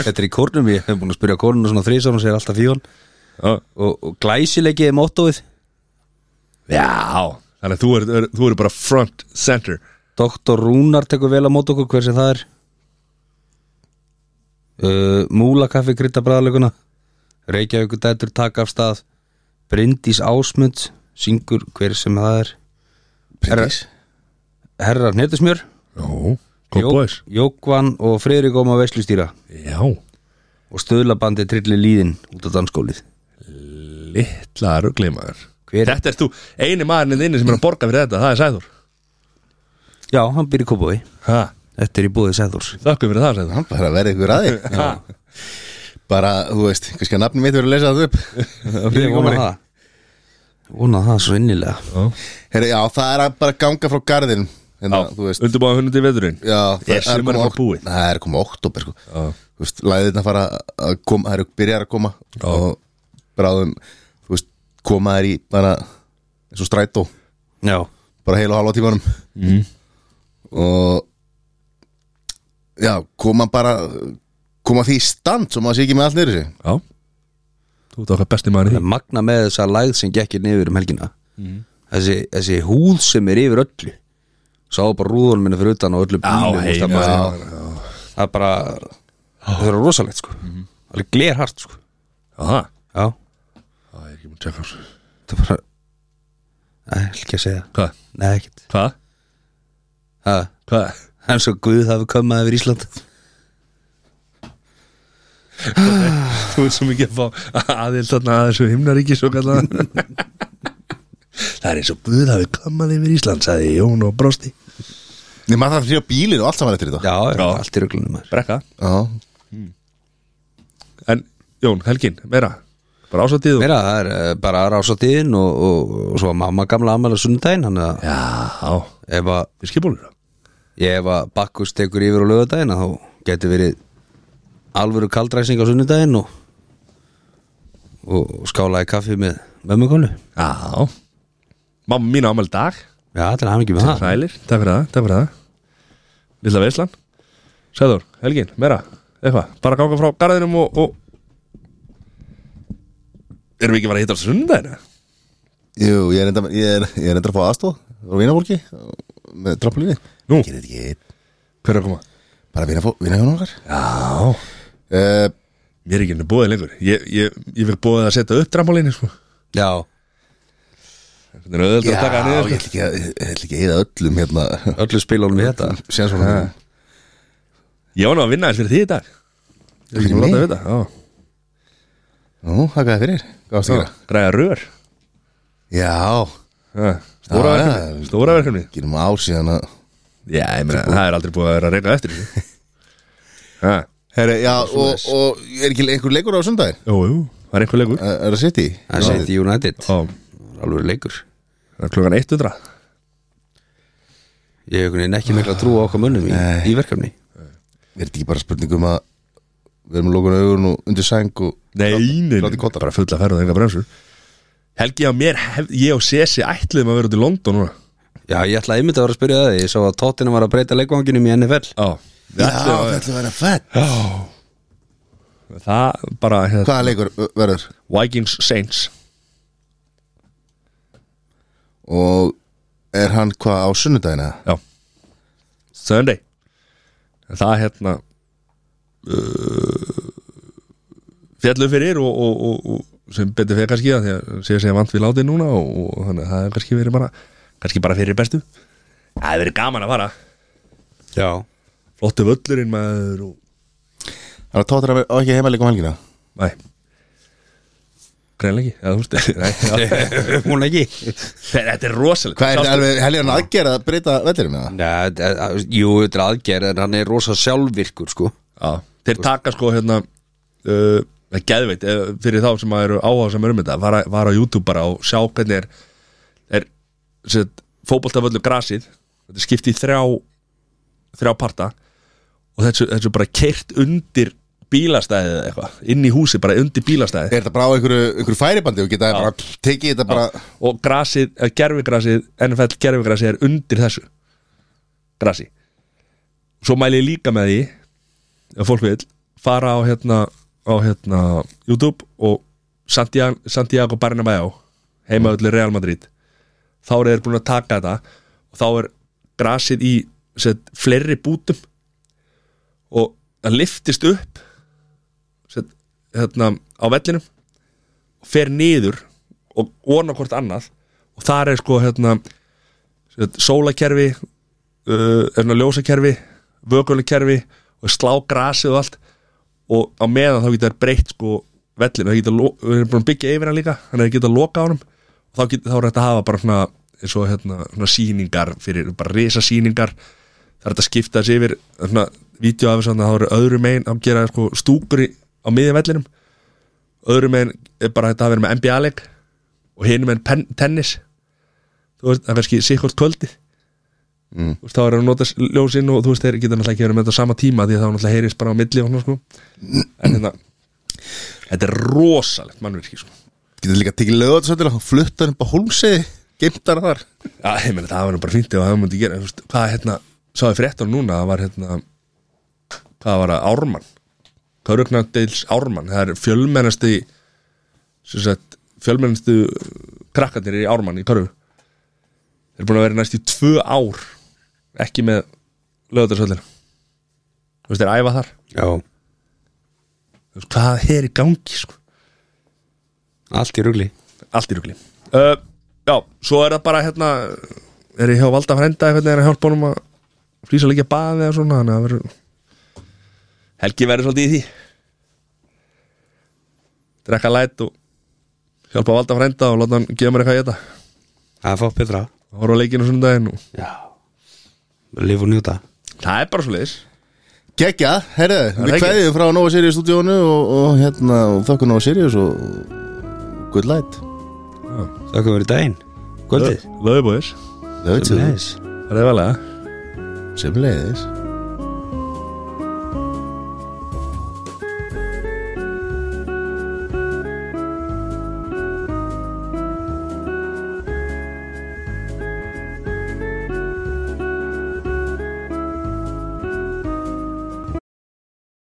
[SPEAKER 3] Þetta er í kórnum, ég hef búin að spyrja kórnum svona þrísar og segir alltaf fíón
[SPEAKER 1] Já,
[SPEAKER 3] og, og glæsilegið er mottóið
[SPEAKER 1] Já. Þannig að þú eru er, þú eru bara front center
[SPEAKER 3] Doktor Rúnar tekur vel á mót okkur hver sem það er uh, Múlakaffi krydda bræðalöguna Reykjavíkur dættur taka af stað Bryndís Ásmund syngur hver sem það er
[SPEAKER 2] Bryndís?
[SPEAKER 3] Herrar Hnetusmjör
[SPEAKER 1] Já Kópóis
[SPEAKER 3] Jókvan og Friðrik Óma Veslustýra
[SPEAKER 1] Já
[SPEAKER 3] og stöðlabandi trilli líðin út á danskólið
[SPEAKER 1] Littla ruglimaður
[SPEAKER 3] Hver?
[SPEAKER 1] Þetta er þú Eini maðurinn inni sem er að borga fyrir þetta Það er Sæður
[SPEAKER 3] Já, hann býr í Kópói
[SPEAKER 1] Ha
[SPEAKER 3] Þetta er í búið Sæðurs
[SPEAKER 1] Þakku fyrir það Sæður
[SPEAKER 2] Hann bara verði ykkur aði
[SPEAKER 1] Ha
[SPEAKER 2] Bara, þú veist, kannski að nafnum mitt verður að lesa það upp
[SPEAKER 3] Ég vona það Vona það svo innilega
[SPEAKER 2] Heri, já, það er að bara ganga frá garðin hérna, þú veist
[SPEAKER 1] Undurbáða hundi veðurinn
[SPEAKER 2] já, það
[SPEAKER 1] Er
[SPEAKER 2] að
[SPEAKER 1] sumarið
[SPEAKER 2] koma
[SPEAKER 1] bara búið?
[SPEAKER 2] ok- það er að koma oktober sko.
[SPEAKER 1] Já.
[SPEAKER 2] Þú veist, læðirna fara að koma það eru byrjar að koma og bráðum, þú veist, koma þær í bara eins og strætó
[SPEAKER 3] Já,
[SPEAKER 2] bara heil og halva tímanum mm. og já, koma bara koma því í stand svo maður sé ekki með allt neyri sig
[SPEAKER 1] Já Þú ert okkar besti maður í
[SPEAKER 3] Það er magna með þessa lægð sem gekkir niður um helgina þessi, þessi húð sem er yfir öllu sá bara rúðunum minna fyrir utan og öllu bílum
[SPEAKER 1] hei,
[SPEAKER 3] það, bara, það er bara það er rosalegt sko alveg glerhart sko
[SPEAKER 1] Aha
[SPEAKER 3] já,
[SPEAKER 1] Það er ekki múin að tjekka á þessu.
[SPEAKER 3] það er bara Nei, ég ætla ekki að segja það.
[SPEAKER 1] Hvað?
[SPEAKER 3] Nei, ekkert
[SPEAKER 1] Hvað?
[SPEAKER 3] Ha,
[SPEAKER 1] Hvað?
[SPEAKER 3] Það er svo guð hafi komað yfir Ísland
[SPEAKER 1] Þú ert svo mikið að fá aðild þarna að þessu himnaríki svo kallan Það er eins og Guð hafi kamað yfir Ísland sagði Jón og brosti
[SPEAKER 2] Nei, maður þarf að hljóða bílinu og allt saman eftir þetta
[SPEAKER 3] Já, já.
[SPEAKER 1] Já.
[SPEAKER 3] allt í röglunum maður
[SPEAKER 1] Brekka
[SPEAKER 2] já.
[SPEAKER 1] En Jón, helgin, meira Bara ásatíð og
[SPEAKER 3] Meira, það er eh, bara rásatíðin og, og, og svo var mamma gamla ammæla sundaginn hann að
[SPEAKER 1] Já, á,
[SPEAKER 3] ef að
[SPEAKER 1] fiskibólur
[SPEAKER 3] Ég ef að Bakkus tekur yfir á lögadaginn að þá getur verið alvöru kaldræsing á sunnudaginn og, og skálaði kaffi með mömmukonu
[SPEAKER 1] Já Mamma mín ámæl dag
[SPEAKER 3] Já, til að hafa ekki með það
[SPEAKER 1] Sælir, takk fyrir það, takk fyrir það Lilla Veislan Sæður, helgin, meira, eitthvað Bara ganga frá garðinum og, og... Erum við ekki bara að hitta á sundagina?
[SPEAKER 2] Jú, ég er enda, ég er, ég er enda að fá aðstóð og vinafólki með trampolíni
[SPEAKER 1] Nú.
[SPEAKER 2] Gerið þetta ekki einn,
[SPEAKER 1] Hver er að koma?
[SPEAKER 2] bara vinafólk, vinafjón okkar
[SPEAKER 1] Já
[SPEAKER 2] uh,
[SPEAKER 1] Mér er ekki henni bóðið lengur Ég, ég, ég vil bóðið að setja upp trampolíni sko.
[SPEAKER 3] Já,
[SPEAKER 1] Þetta er auðvitað að taka hann
[SPEAKER 2] ég
[SPEAKER 1] niður sko.
[SPEAKER 2] ætla ekki að ég ætla ekki að eða öllum hérna
[SPEAKER 3] Öllu spilunum við þetta
[SPEAKER 2] Sér svona
[SPEAKER 1] Ég var nú að vinna þess fyrir því í dag Ég er
[SPEAKER 2] Fyrir
[SPEAKER 1] ekki láta
[SPEAKER 2] mig?
[SPEAKER 1] að vita já.
[SPEAKER 2] Nú, hakaði fyrir Hvað varst að gera?
[SPEAKER 1] Græða rör
[SPEAKER 2] Já
[SPEAKER 1] Já, Stóra
[SPEAKER 2] Já,
[SPEAKER 1] verkefni
[SPEAKER 2] já.
[SPEAKER 1] Stóra Sko. verkefni
[SPEAKER 2] Gerum ár síðan að
[SPEAKER 1] Já, ég meina, það er aldrei búið að vera að reyna eftir þessu Já,
[SPEAKER 2] Herre, já, og, og er ekki einhver leikur á sundaginn?
[SPEAKER 1] jú, jú, það er einhver leikur
[SPEAKER 2] Er er það sitt í?
[SPEAKER 3] Það seti United
[SPEAKER 1] Ó,
[SPEAKER 3] Alveg leikur
[SPEAKER 1] það er klukkan 100
[SPEAKER 3] Ég hef einhvern veginn ekki mikla trú á okkar mönnum í, í verkefni
[SPEAKER 2] Er þetta ekki bara spurningum að við erum að lóka augun og undir sæng og
[SPEAKER 1] Nei, nei, nei,
[SPEAKER 2] látið kottar.
[SPEAKER 1] bara fulla ferð og enga bremsur Helgi á mér, hef, ég og Sesi ætliðum að vera út í London núna
[SPEAKER 3] Já, ég ætlaði einmitt að vera að spyrja það Ég sá að Tottenham var að breyta leikvanginum í NFL
[SPEAKER 1] Já, við ætliðum að
[SPEAKER 2] ætlum að vera fett
[SPEAKER 1] Já Það bara, hérna,
[SPEAKER 2] Hvaða leikur ö, verður?
[SPEAKER 1] Vikings Saints
[SPEAKER 2] Og er hann hvað á sunnudaginn eða?
[SPEAKER 1] Já Sunday En Það hérna uh, Fjallum fyrir og, og, og, og sem betur fyrir kannski það því að séu segja vant við látið núna og, og þannig að það er kannski verið bara kannski bara fyrir bestu Það er verið gaman að fara
[SPEAKER 3] Já
[SPEAKER 1] Flottu völlurinn maður og
[SPEAKER 2] Það er að tóttir að vera á ekki heima leikum helgina
[SPEAKER 1] Nei Greinleiki, eða þú veist Nei, já.
[SPEAKER 3] Hún ekki
[SPEAKER 1] Þetta er rosalega
[SPEAKER 2] Hvað er þetta alveg helgina aðgerð að breyta vellirum eða?
[SPEAKER 3] Nei, þetta er- jú, þetta er aðgerð En hann er rosa sjálfvirkur, sko
[SPEAKER 1] Já, þeir taka sko hérna uh, geðveit, eh, fyrir þá sem að eru áhuga sem um þetta, var, var á YouTube bara og sjá hvernig er, er set, fótboltaföllu grasið þetta er skipt í þrjá þrjá parta og þessu, þessu bara keirt undir bílastæðið eða eitthvað, inn í húsi bara undir bílastæðið
[SPEAKER 2] Er þetta bara á einhverju, einhverju færibandi og geta bara tekið þetta bara
[SPEAKER 1] og grasið, eh, gerfigrasið NFL gerfigrasið er undir þessu grasi svo mæli ég líka með því ef fólk vil, fara á hérna á hérna YouTube og Santiago, Santiago Bernabéu heima öllu Real Madrid þá eru þeir búin að taka þetta og þá er grasið í set, fleiri bútum og það liftist upp set, hérna á vellinum fer niður og orna hvort annað og þar er sko hérna sem sagt, sólakerfi uh, er svona ljósakerfi, vökulekerfi og slá grasið og allt og á meðan þá geta þær breytt sko vellinu, það geta, lo- við erum búin að byggja yfir hann líka, þannig að það geta loka á hann og þá, geta, þá er þetta að hafa bara svona eins og hérna, svona sýningar fyrir, bara risa sýningar það er þetta að skipta þessi yfir svona, vídeo af þess að það eru öðru megin þá gera þeir, sko stúkur í, á miðjum vellinum öðrum meginn er bara þetta að vera með NBA-leik og hinum meginn pen- tennis þú veist, það er kannski sikkort kvöldið mm. þú veist, þá er að nota s- ljósin og þú veist, þeir geta náttúrulega ekki verið með þetta á sama tíma því að þá náttúrulega heyrist bara á milli og svona sko en hérna, þetta er rosalegt mannverki sko
[SPEAKER 2] Geta líka tekið lögat svo til að flutta hann upp á hólmsiði Geimtar þar
[SPEAKER 1] Já, ég meina, það var nú bara fínt ef það myndi gera, þú veist, hvað hérna sá ég fréttan núna, það var hérna hvað var það, Ármann Körugnardeils Ármann, það er fjölmennasti sem sagt, fjölmennastu krakkarnir í Ármann í Körug þeir eru búin að vera næst í tvö ár ekki með lögðarsöllina þú veist, þeir æfa þar
[SPEAKER 3] Já
[SPEAKER 1] þú veist, hvað er í gangi, sko
[SPEAKER 3] Allt í rugli
[SPEAKER 1] allt í rugli uh, Já, svo er það bara hérna er ég hjá valda frænda hvernig er að hjálpa honum að flýsa líka baði eða svona þannig að verður Helgi verður svolítið í því drekka læt og hjálpa valda frænda og láta hann gefa mér eitthvað í þetta
[SPEAKER 3] Það er fátt betra
[SPEAKER 1] horfa á leikinu sundaginn og
[SPEAKER 3] Já Liv og njóta
[SPEAKER 1] það er bara svo leiðis
[SPEAKER 2] Gekja, herðu,
[SPEAKER 1] er
[SPEAKER 2] við
[SPEAKER 1] ekki.
[SPEAKER 2] kveðjum frá Nova Sirius stúdíónu og, og hérna, og þökkum Nova Sirius og og good light
[SPEAKER 3] Þakka verið daginn Kvöldið
[SPEAKER 1] Löðubóðis,
[SPEAKER 2] Lögat
[SPEAKER 3] Sömuleiðis.
[SPEAKER 1] það er vel að
[SPEAKER 2] sem leiðis